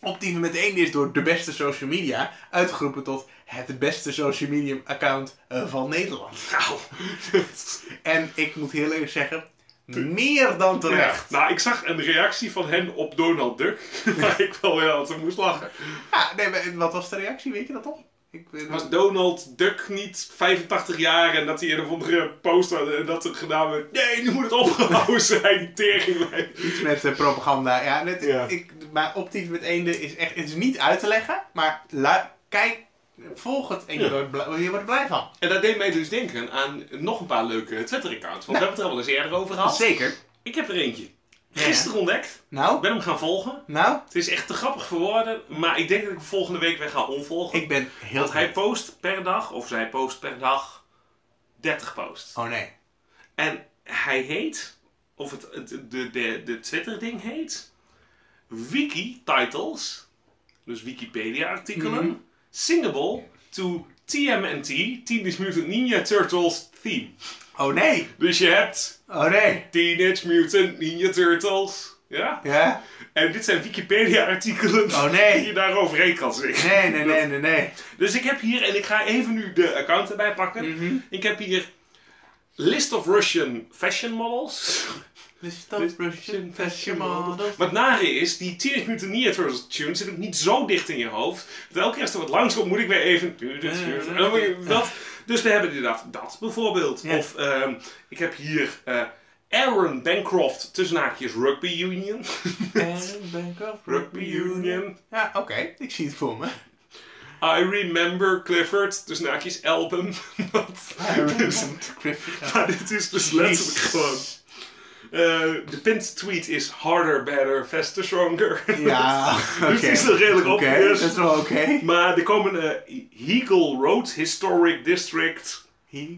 A: Optieven met de eenden is door de beste social media uitgeroepen tot het beste social media account eh, van Nederland.
B: Nou,
A: En ik moet heel eerlijk zeggen, meer dan terecht.
B: nou, ik zag een reactie van hen op Donald Duck. Waar ik wel weer altijd moest lachen.
A: Ja, Ah, nee, maar wat was de reactie? Weet je dat nog? Ik, eh, weet-
B: Was Donald Duck niet 85 jaar en dat hij in een of andere post had en dat er gedaan werd... Nee, nu moet het opgehouden zijn, tering mij.
A: Iets met eh, propaganda. Ja, net,
B: Ja.
A: Ik, maar optief met eenden is echt het is niet uit te leggen. Maar lu- kijk, volg het en je,
B: Ja.
A: wordt blij, je wordt er blij van.
B: En dat deed mij dus denken aan nog een paar leuke Twitter-accounts. Want we hebben het er al eens eerder over gehad.
A: Zeker.
B: Ik heb er eentje.
A: Ja.
B: Gisteren ontdekt. Ik
A: Nou,
B: ben hem gaan volgen.
A: nou,
B: Het is echt te grappig voor woorden, maar ik denk dat ik hem volgende week weer ga onvolgen.
A: ik ben heel
B: Want hij post per dag, of zij post per dag, 30 posts.
A: Oh nee.
B: En hij heet, of het, het- de, de, de Twitter-ding heet, Wiki-titles, dus Wikipedia-artikelen,
A: Mhm.
B: singable to TMNT, Teenage Mutant Ninja Turtles theme.
A: Oh nee.
B: Dus je hebt
A: Oh nee.
B: Teenage Mutant Ninja Turtles, ja?
A: Ja?
B: En dit zijn Wikipedia-artikelen
A: Oh, nee.
B: die je daar overheen kan zingen.
A: Nee, nee, nee, nee, nee.
B: Dus ik heb hier, en ik ga even nu de account erbij pakken. Ik heb hier List of Russian Fashion Models. Maar het nare is, die Teenage Mutant Ninja Turtles tune zit ook niet zo dicht in je hoofd. Dat elke keer als er wat langs komt, moet ik weer even... En dan moet je dat. Dus we hebben inderdaad dat bijvoorbeeld.
A: Ja.
B: Of ehm, ik heb hier eh, Aaron Bancroft, tussen haakjes Rugby Union.
A: En Bangkok
B: Rugby Union.
A: Ja, oké. Ik zie het voor me.
B: I Remember Clifford, tussen haakjes Album. Dat- dus-
A: Griffin.
B: maar dit is dus letterlijk gewoon... Eh, de pinned tweet is harder, better, faster, stronger.
A: Ja,
B: Dus die is nog redelijk
A: Oké,
B: obvious.
A: dat is wel oké.
B: Maar er komen eh, Eagle Road Historic District,
A: Oké,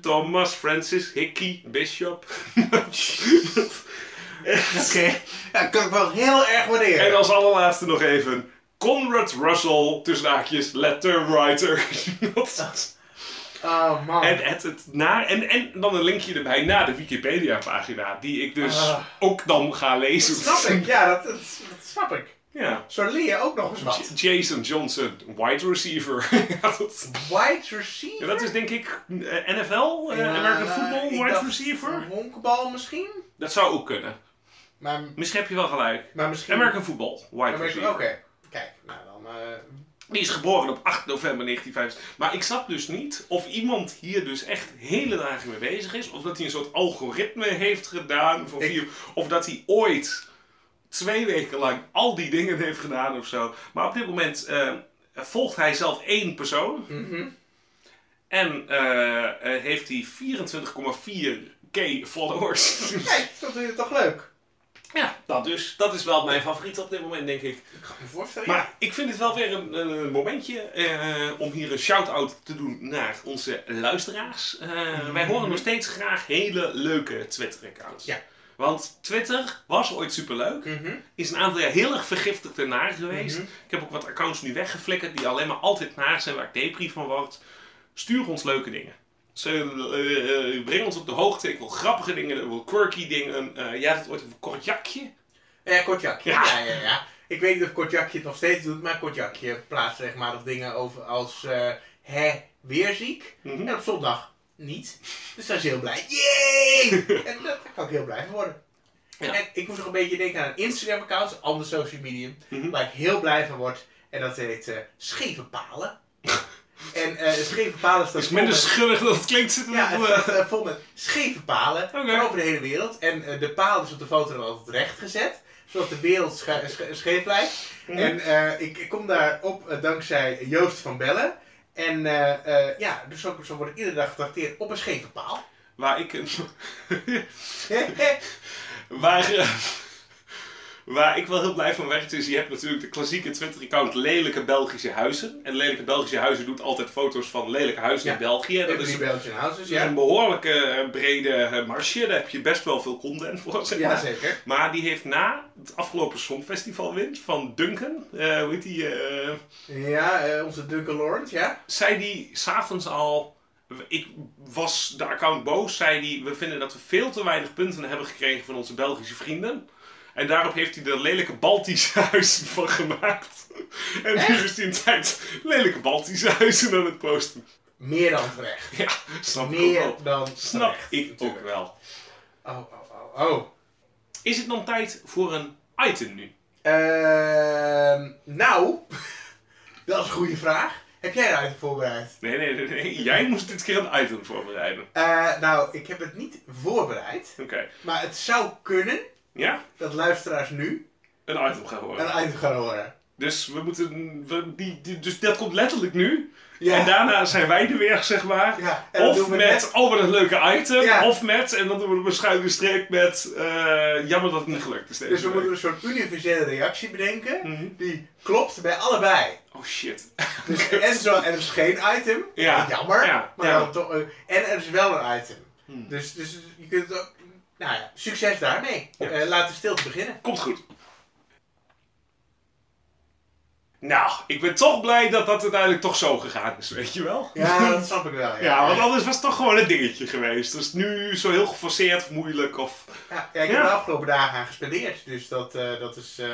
B: Thomas Francis Hickey Bishop.
A: ja, kan ik wel heel erg waarderen.
B: en als allerlaatste nog even Conrad Russell, tussen haakjes, letterwriter.
A: Oh man.
B: en, het, het na, en, en dan een linkje erbij naar de Wikipedia-pagina, die ik dus
A: Ah.
B: ook dan ga lezen.
A: dat snap ik, ja, dat, dat, dat snap ik.
B: Ja.
A: Zo leer je ook nog eens wat.
B: J- Jason Johnson, wide receiver. ja, dat,
A: Wide
B: ja,
A: receiver?
B: dat is denk ik eh, NFL, eh,
A: Ja,
B: American
A: nou,
B: Football,
A: ik
B: wide
A: dacht
B: receiver.
A: Honkbal misschien?
B: Dat zou ook kunnen.
A: Maar,
B: Misschien heb je wel gelijk.
A: maar misschien...
B: American Football, wide
A: maar misschien-
B: receiver.
A: Oké, kijk, nou dan... eh,
B: Die is geboren op 8 november 1950. Maar ik snap dus niet of iemand hier dus echt hele dagen mee bezig is. Of dat hij een soort algoritme heeft gedaan. Van
A: Ik-
B: vier- of dat hij ooit twee weken lang al die dingen heeft gedaan of zo. Maar op dit moment eh, volgt hij zelf één persoon.
A: mhm.
B: En eh, eh, heeft hij 24,4k followers.
A: Kijk, dat doe je toch leuk?
B: ja, dat dus. Dat is wel mijn favoriet op dit moment, denk ik.
A: Ik kan me voorstellen, ja.
B: Maar ik vind het wel weer een, een- een momentje eh, om hier een shout-out te doen naar onze luisteraars. Eh,
A: Mhm.
B: Wij horen nog steeds graag hele leuke Twitter-accounts.
A: Ja.
B: Want Twitter was ooit superleuk.
A: Mhm.
B: Is een aantal jaar heel erg vergiftigd en naar geweest.
A: Mhm.
B: Ik heb ook wat accounts nu weggeflikkerd die alleen maar altijd naar zijn waar ik depri van word. Stuur ons leuke dingen. Ze, eh, eh, breng ons op de hoogte. Ik wil grappige dingen, ik wil quirky dingen. Eh, jij had het ooit over korjakje.
A: Ja, Kotjakje.
B: Ja.
A: Ja. ja, ja, Ik weet niet of Kotjakje het nog steeds doet, maar Kotjakje plaatst regelmatig dingen over als eh hè, weer ziek.
B: Mhm.
A: En op zondag niet. Dus daar is hij heel blij. Yay! en dat- daar kan ik heel blij van worden.
B: Ja.
A: En ik moest nog een beetje denken aan een Instagram-account, een ander social medium,
B: Mhm.
A: waar ik heel blij van word. En dat heet eh Scheve Palen. en eh Scheve Palen staat
B: Dat is minder
A: voor-
B: schuldig dan het klinkt. Zitten
A: ja,
B: we-
A: het staat eh, vol met scheve palen
B: Oké.
A: van over de hele wereld. En eh, de paal is op de foto dan altijd recht gezet, zodat de wereld scha- sche- scheef lijkt.
B: Mhm.
A: En eh, ik, ik kom daarop op eh, dankzij Joost van Bellen. En eh, eh, ja, dus zo, zo word ik iedere dag getrakteerd op een scheve paal.
B: Waar ik, een-
A: ja,
B: waar, eh, waar ik wel heel blij van werd is, je hebt natuurlijk de klassieke Twitter-account Lelijke Belgische Huizen. En Lelijke Belgische Huizen doet altijd foto's van lelijke huizen
A: Ja.
B: in België. Dat is
A: die
B: een,
A: Belgian Houses,
B: dat is
A: dus ja.
B: Dus een behoorlijke eh, brede eh, marge. Daar heb je best wel veel content voor, zeg maar.
A: Jazeker.
B: Maar die heeft na het afgelopen Songfestivalwinst van Duncan, eh, hoe heet die, eh,
A: Ja, eh, onze Duncan Lawrence, ja.
B: zei die s'avonds al. Ik was de account boos, zei die. We vinden dat we veel te weinig punten hebben gekregen van onze Belgische vrienden. En daarop heeft hij er lelijke Baltische huizen van gemaakt. En nu is hij een tijd lelijke Baltische huizen aan het posten.
A: Meer dan terecht.
B: Ja, snap ik ook
A: Meer
B: wel.
A: dan
B: Snap
A: terecht,
B: ik ook
A: natuurlijk.
B: wel.
A: Oh, oh, oh, oh.
B: Is het dan tijd voor een item nu?
A: Ehm, nou, dat is een goede vraag. Heb jij eruit voorbereid?
B: Nee, nee, nee, nee. Jij moest dit keer een item voorbereiden.
A: Eh, nou, ik heb het niet voorbereid.
B: Oké.
A: Maar het zou kunnen
B: Ja?
A: dat luisteraars nu
B: Een item gaan horen.
A: een item gaan horen.
B: Dus we moeten. we- die, die- dus dat komt letterlijk nu.
A: Ja.
B: En daarna zijn wij er weer, zeg maar.
A: Ja, en dat
B: Of
A: doen we
B: met, oh wat een leuke item,
A: Ja.
B: of met, en dan doen we een beschuimde streep met, eh, jammer dat het niet gelukt is deze
A: Dus we
B: week.
A: moeten een soort universele reactie bedenken.
B: Mhm.
A: Die klopt bij allebei.
B: Oh shit.
A: Dus en, zo, en er is geen item.
B: Ja.
A: Jammer.
B: Ja,
A: Maar
B: ja.
A: dan toch, eh, en er is wel een item.
B: Hmm.
A: Dus, dus je kunt het ook... Nou ja, succes daarmee.
B: Ja.
A: Eh, laten we stil te beginnen.
B: Komt goed. Nou, ik ben toch blij dat dat uiteindelijk toch zo gegaan is, weet je wel?
A: Ja, dat snap ik wel. Ja,
B: Ja, want anders was het toch gewoon een dingetje geweest. Dus nu zo heel geforceerd of moeilijk of...
A: Ja, ja, ik heb
B: Ja.
A: de afgelopen dagen aan gespendeerd, dus dat, eh, dat is... eh,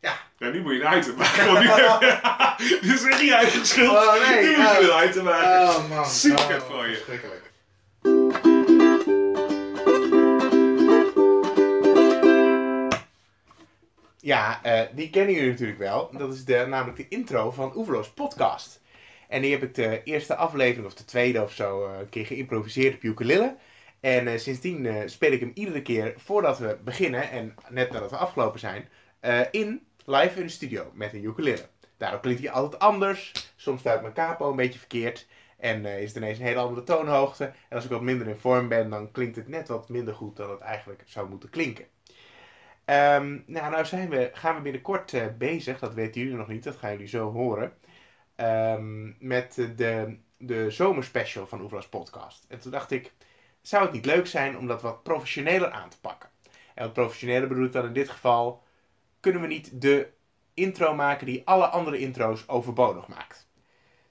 B: Ja, nu moet je een item maken. Want nu heb je... Dit is echt je eigen schuld.
A: Oh, nee,
B: nu moet je
A: oh.
B: een item maken.
A: Oh man,
B: Super
A: oh,
B: voor je.
A: verschrikkelijk. Ja, eh, die kennen jullie natuurlijk wel. Dat is de, namelijk de intro van Oeverloos Podcast. En die heb ik de eerste aflevering, of de tweede of zo, eh, een keer geïmproviseerd op ukulele. En eh, sindsdien eh, speel ik hem iedere keer voordat we beginnen en net nadat we afgelopen zijn, eh, in live in de studio met een ukulele. Daardoor klinkt hij altijd anders, soms duikt mijn capo een beetje verkeerd. En eh, is het ineens een hele andere toonhoogte. En als ik wat minder in vorm ben, dan klinkt het net wat minder goed dan het eigenlijk zou moeten klinken. Ehm, nou, nou zijn we, gaan we binnenkort eh, bezig, dat weten jullie nog niet, dat gaan jullie zo horen. ehm, met de, de zomerspecial van Oevra's podcast. En toen dacht ik, zou het niet leuk zijn om dat wat professioneler aan te pakken? En wat professioneler bedoel ik dan in dit geval, kunnen we niet de intro maken die alle andere intro's overbodig maakt?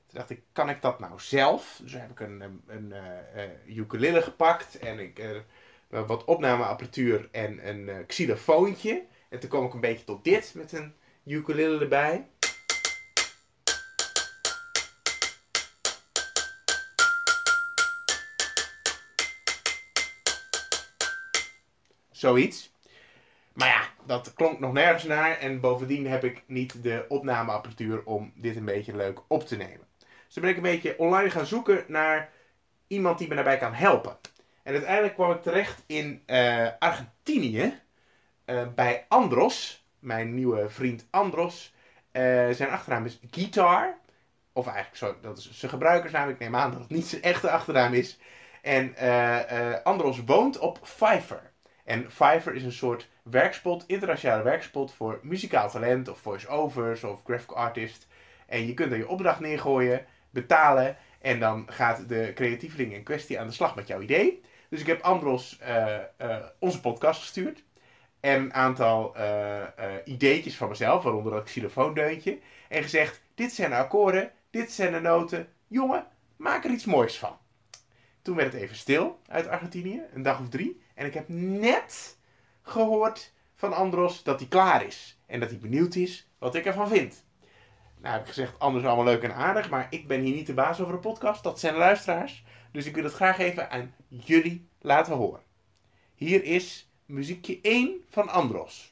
A: Toen dacht ik, kan ik dat nou zelf? Dus heb ik een, een, een eh, eh, ukulele gepakt en ik, er eh, wat opnameapparatuur en een eh, xylofoontje. En toen kwam ik een beetje tot dit met een ukulele erbij. Zoiets. Maar ja, dat klonk nog nergens naar. En bovendien heb ik niet de opnameapparatuur om dit een beetje leuk op te nemen. Dus toen ben ik een beetje online gaan zoeken naar iemand die me daarbij kan helpen. En uiteindelijk kwam ik terecht in eh, Argentinië eh, bij Andros, mijn nieuwe vriend Andros. Eh, zijn achternaam is Guitar. Of eigenlijk, zo, dat is zijn gebruikersnaam. Ik neem aan dat het niet zijn echte achternaam is. En eh, eh, Andros woont op Fiverr. En Fiverr is een soort werkspot, internationale werkspot voor muzikaal talent of voice-overs of graphic artist. En je kunt er je opdracht neergooien, betalen en dan gaat de creatieveling in kwestie aan de slag met jouw idee. Dus ik heb Andros eh, eh, onze podcast gestuurd en een aantal eh, eh, ideetjes van mezelf, waaronder dat xylofoondeuntje. En gezegd, dit zijn de akkoorden, dit zijn de noten. Jongen, maak er iets moois van. Toen werd het even stil uit Argentinië, een dag of drie. En ik heb net gehoord van Andros dat hij klaar is. En dat hij benieuwd is wat ik ervan vind. Nou heb ik gezegd, Anders allemaal leuk en aardig, maar ik ben hier niet de baas over de podcast. Dat zijn de luisteraars. Dus ik wil het graag even aan jullie laten horen. Hier is muziekje 1 van Andros.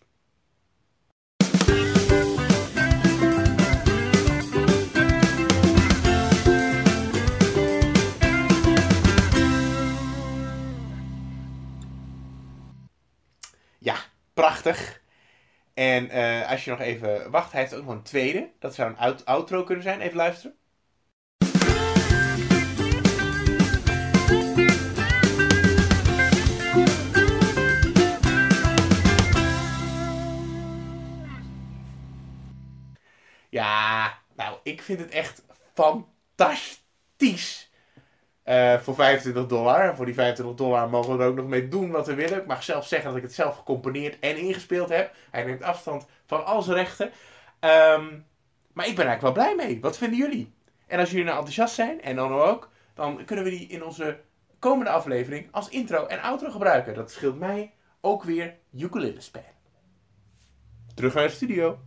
A: Ja, prachtig. En eh, als je nog even wacht, hij heeft ook nog een tweede. Dat zou een out- outro kunnen zijn. Even luisteren. Ja, nou, ik vind het echt fantastisch. Eh, voor 25 dollar. Voor die 25 dollar mogen we er ook nog mee doen wat we willen. Ik mag zelf zeggen dat ik het zelf gecomponeerd en ingespeeld heb. Hij neemt afstand van al zijn rechten. Ehm, maar ik ben er eigenlijk wel blij mee. Wat vinden jullie? En als jullie nou enthousiast zijn, en dan ook, dan kunnen we die in onze komende aflevering als intro en outro gebruiken. Dat scheelt mij ook weer ukulele spelen. Terug naar de studio.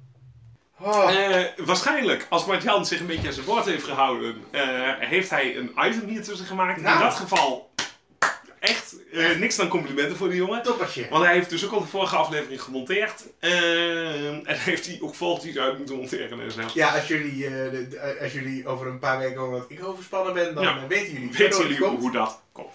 A: Oh.
B: Eh, waarschijnlijk, als Martjan zich een beetje aan zijn woord heeft gehouden, eh, heeft hij een item hier tussen gemaakt.
A: Nou.
B: In dat geval, echt eh, niks dan complimenten voor die jongen.
A: Toppertje.
B: Want hij heeft dus ook al de vorige aflevering gemonteerd. Eh, en heeft hij ook volgens iets uit moeten monteren en zo.
A: Ja, als jullie, eh, de- de- eh, als jullie over een paar weken horen dat ik overspannen ben, dan
B: Ja.
A: eh, weten jullie
B: Weten
A: waardoor het
B: jullie hoe,
A: komt.
B: dat komt?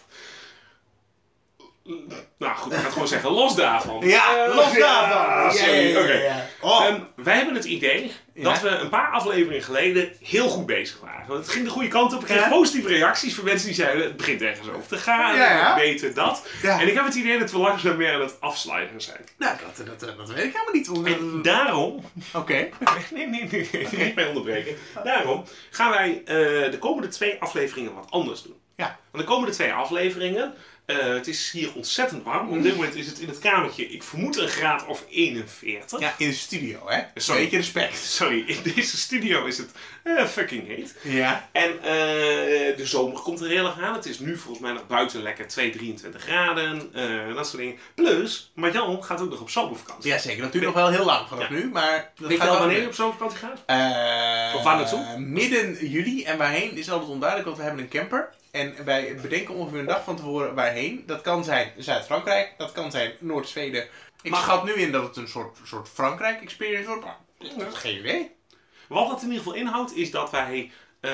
B: Nou goed, ik ga het gewoon zeggen, los daarvan.
A: Ja,
B: Eh,
A: los daarvan!
B: Ja, Sorry, oké.
A: Oh,
B: Ehm, wij hebben het idee dat we een paar afleveringen geleden heel goed bezig waren. Want het ging de goede kant op. Ik kreeg
A: Ja.
B: positieve reacties van mensen die zeiden: het begint ergens over te gaan,
A: Ja, ja.
B: beter dat.
A: ja.
B: En ik heb het idee dat we langzaam meer aan het afsluiten zijn.
A: Nou, dat, dat, dat, dat weet ik helemaal niet. omdat-
B: En daarom.
A: Oké.
B: Nee, nee, nee, nee, niet mij onderbreken. Daarom gaan wij eh, de komende twee afleveringen wat anders doen.
A: Ja.
B: Want de komende twee afleveringen. eh, het is hier ontzettend warm. Op dit moment is het in het kamertje, ik vermoed een graad of 41.
A: Ja, in de studio, hè? Een
B: Sorry.
A: beetje respect.
B: Sorry, in deze studio is het eh, fucking heet.
A: Ja.
B: En eh, de zomer komt er heel erg aan. Het is nu volgens mij nog buiten lekker 2, 23 graden. eh, dat soort dingen. Plus, Marjan gaat ook nog op zomervakantie.
A: Ja, zeker. Dat duurt nog wel heel lang vanaf
B: Ja.
A: nu, maar... Dat
B: Weet je
A: gaat
B: al
A: wel
B: wanneer je
A: weer.
B: op zomervakantie gaat?
A: Eh,
B: Of waar naartoe?
A: Midden juli. En waarheen is altijd onduidelijk, want we hebben een camper. En wij bedenken ongeveer een dag van tevoren waarheen. Dat kan zijn Zuid-Frankrijk, dat kan zijn Noord-Zweden. Ik
B: Maar-
A: schat nu in dat het een soort, soort Frankrijk-experience wordt, maar geen idee.
B: Wat dat in ieder geval inhoudt, is dat wij eh,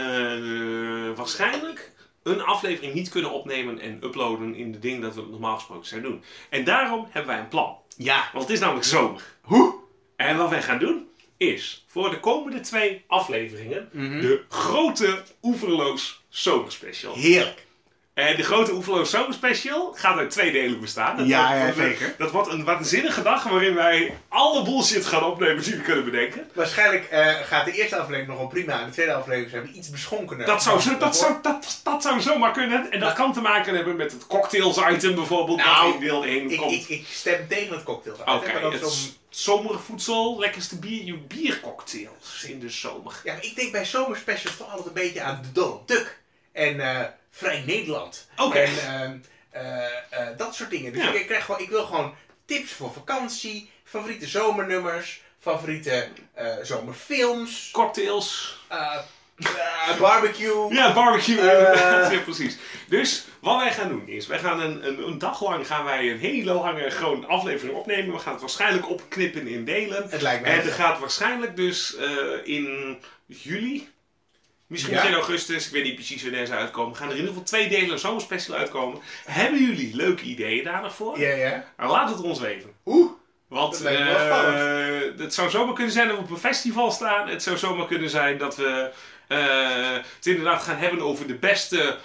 B: waarschijnlijk een aflevering niet kunnen opnemen en uploaden in de ding dat we normaal gesproken zijn doen. En daarom hebben wij een plan.
A: Ja.
B: Want het is namelijk zomer.
A: Hoe?
B: En wat wij gaan doen, is voor de komende twee afleveringen
A: Mhm.
B: de grote Oeverloos Zomerspecial.
A: Heerlijk.
B: En de grote Oeverloos Zomerspecial gaat uit twee delen bestaan. Dat
A: Ja,
B: wordt-
A: ja, zeker.
B: Dat wordt een waanzinnige dag waarin wij alle bullshit gaan opnemen die we kunnen bedenken.
A: Waarschijnlijk eh, gaat de eerste aflevering nog wel prima. En de tweede aflevering zijn we iets beschonkener.
B: Dat zou, zo, dat,
A: wordt-
B: zou, dat, dat zou zomaar kunnen. En dat kan te maken hebben met het cocktails-item bijvoorbeeld,
A: Nou,
B: dat in deel 1
A: Ik,
B: komt.
A: ik, ik stem tegen het cocktail.
B: Oké,
A: maar dat
B: het
A: is om-
B: s- zomervoedsel, lekkerste bier, je biercocktails in de zomer.
A: Ja, maar ik denk bij zomerspecials toch altijd een beetje aan de Donald Duck. En eh, Vrij Nederland.
B: Oké.
A: En ehm, eh, eh, dat soort dingen. Dus
B: Ja.
A: ik, ik krijg gewoon, ik wil gewoon tips voor vakantie, favoriete zomernummers, favoriete eh, zomerfilms,
B: Cocktails.
A: eh, eh, barbecue.
B: Ja, barbecue.
A: Eh.
B: inderdaad. ja, precies. Dus wat wij gaan doen is, wij gaan een, een, een dag lang gaan wij een hele lange gewoon aflevering opnemen. We gaan het waarschijnlijk opknippen in delen.
A: Het lijkt me.
B: En er gaat waarschijnlijk dus eh, in juli, misschien
A: Ja.
B: in augustus, ik weet niet precies wanneer ze uitkomen, gaan er in ieder geval twee delen zomerspecial uitkomen. Hebben jullie leuke ideeën daar nog voor?
A: Ja, ja.
B: Nou, Laat het ons weten.
A: Oeh.
B: Want
A: Dat lijkt me wel
B: eh, het zou zomaar kunnen zijn dat we op een festival staan. Het zou zomaar kunnen zijn dat we eh, het inderdaad gaan hebben over de beste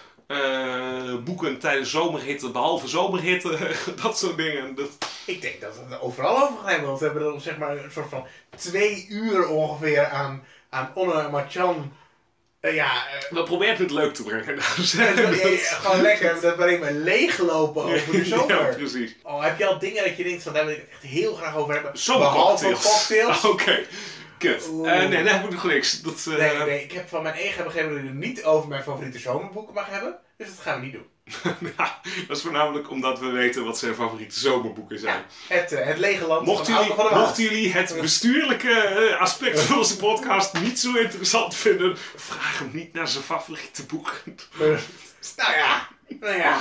B: eh, boeken tijdens zomerhitte, behalve zomerhitte, dat soort dingen. Dat,
A: Ik denk dat we het er overal over gaan hebben. Want we hebben er zeg maar een soort van twee uur ongeveer aan, aan Onne Machan. eh, ja, eh,
B: we proberen het leuk te brengen. Nou, dus, eh, dames en
A: Dat
B: heren.
A: is gewoon lekker, dat we alleen maar leeglopen over de
B: Ja,
A: zomer.
B: precies.
A: Oh, heb je al dingen dat je denkt van daar wil ik het echt heel graag over hebben?
B: Zomercocktails.
A: Behalve cocktails.
B: Oké. Kut.
A: Oeh.
B: Eh, nee, daar heb ik nog niks. Dat, eh,
A: Nee, nee, ik heb van mijn eigen begrepen dat ik het niet over mijn favoriete zomerboeken mag hebben. Dus dat gaan we niet doen.
B: ja, dat is voornamelijk omdat we weten wat zijn favoriete zomerboeken zijn.
A: Ja, het, eh, het lege land van
B: Mochten
A: Auto
B: jullie,
A: van de Waal.
B: mochten jullie het bestuurlijke eh, aspect van onze podcast niet zo interessant vinden, vraag hem niet naar zijn favoriete boek.
A: Eh, Nou ja, nou ja.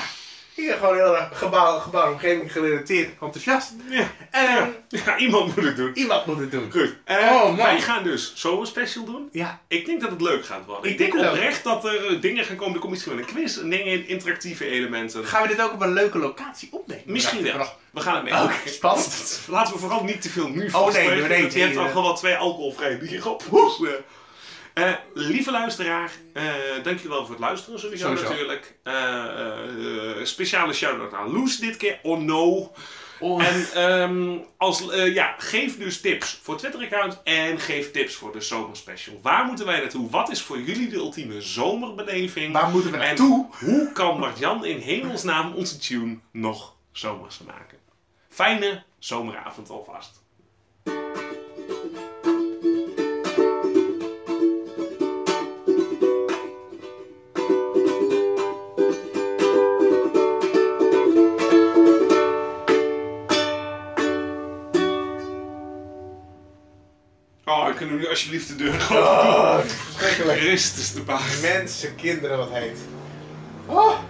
A: Ik ben gewoon heel erg gebouw, gebouw en omgeving gerelateerd enthousiast.
B: Ja,
A: Ehm,
B: ja, iemand moet het doen.
A: Iemand moet het doen.
B: Goed. eh,
A: Oh, man.
B: wij gaan dus zomerspecial doen.
A: Ja,
B: Ik denk dat het leuk gaat worden. Ik,
A: Ik
B: denk
A: denk het ook.
B: oprecht dat er eh, dingen gaan komen. Er komt misschien wel een quiz en dingen, interactieve elementen.
A: gaan we dit ook op een leuke locatie opnemen?
B: Misschien
A: Dacht ik
B: wel.
A: nog.
B: We gaan het mee.
A: Oké, spannend.
B: Laten we vooral niet te veel nu vastleggen.
A: Oh, nee, nee,
B: want je
A: nee,
B: hebt al
A: eh,
B: gewoon twee alcoholvrije bier op. Dus, eh, eh, lieve luisteraar, eh dankjewel voor het luisteren sowieso,
A: Sowieso.
B: natuurlijk. Eh, eh, eh, speciale shout-out aan Loes dit keer. Oh no.
A: Oh.
B: En ehm, als, eh, ja, geef dus tips voor Twitter-account en geef tips voor de zomerspecial. Waar moeten wij naartoe? Wat is voor jullie de ultieme zomerbeleving?
A: Waar moeten we
B: En
A: naartoe?
B: hoe kan Marjan in hemelsnaam onze tune nog zomers maken? Fijne zomeravond alvast. Oh, kunnen we nu alsjeblieft de deur gewoon...
A: Oh, verschrikkelijk.
B: Christus de paard.
A: Mensen, kinderen, wat heet. Oh.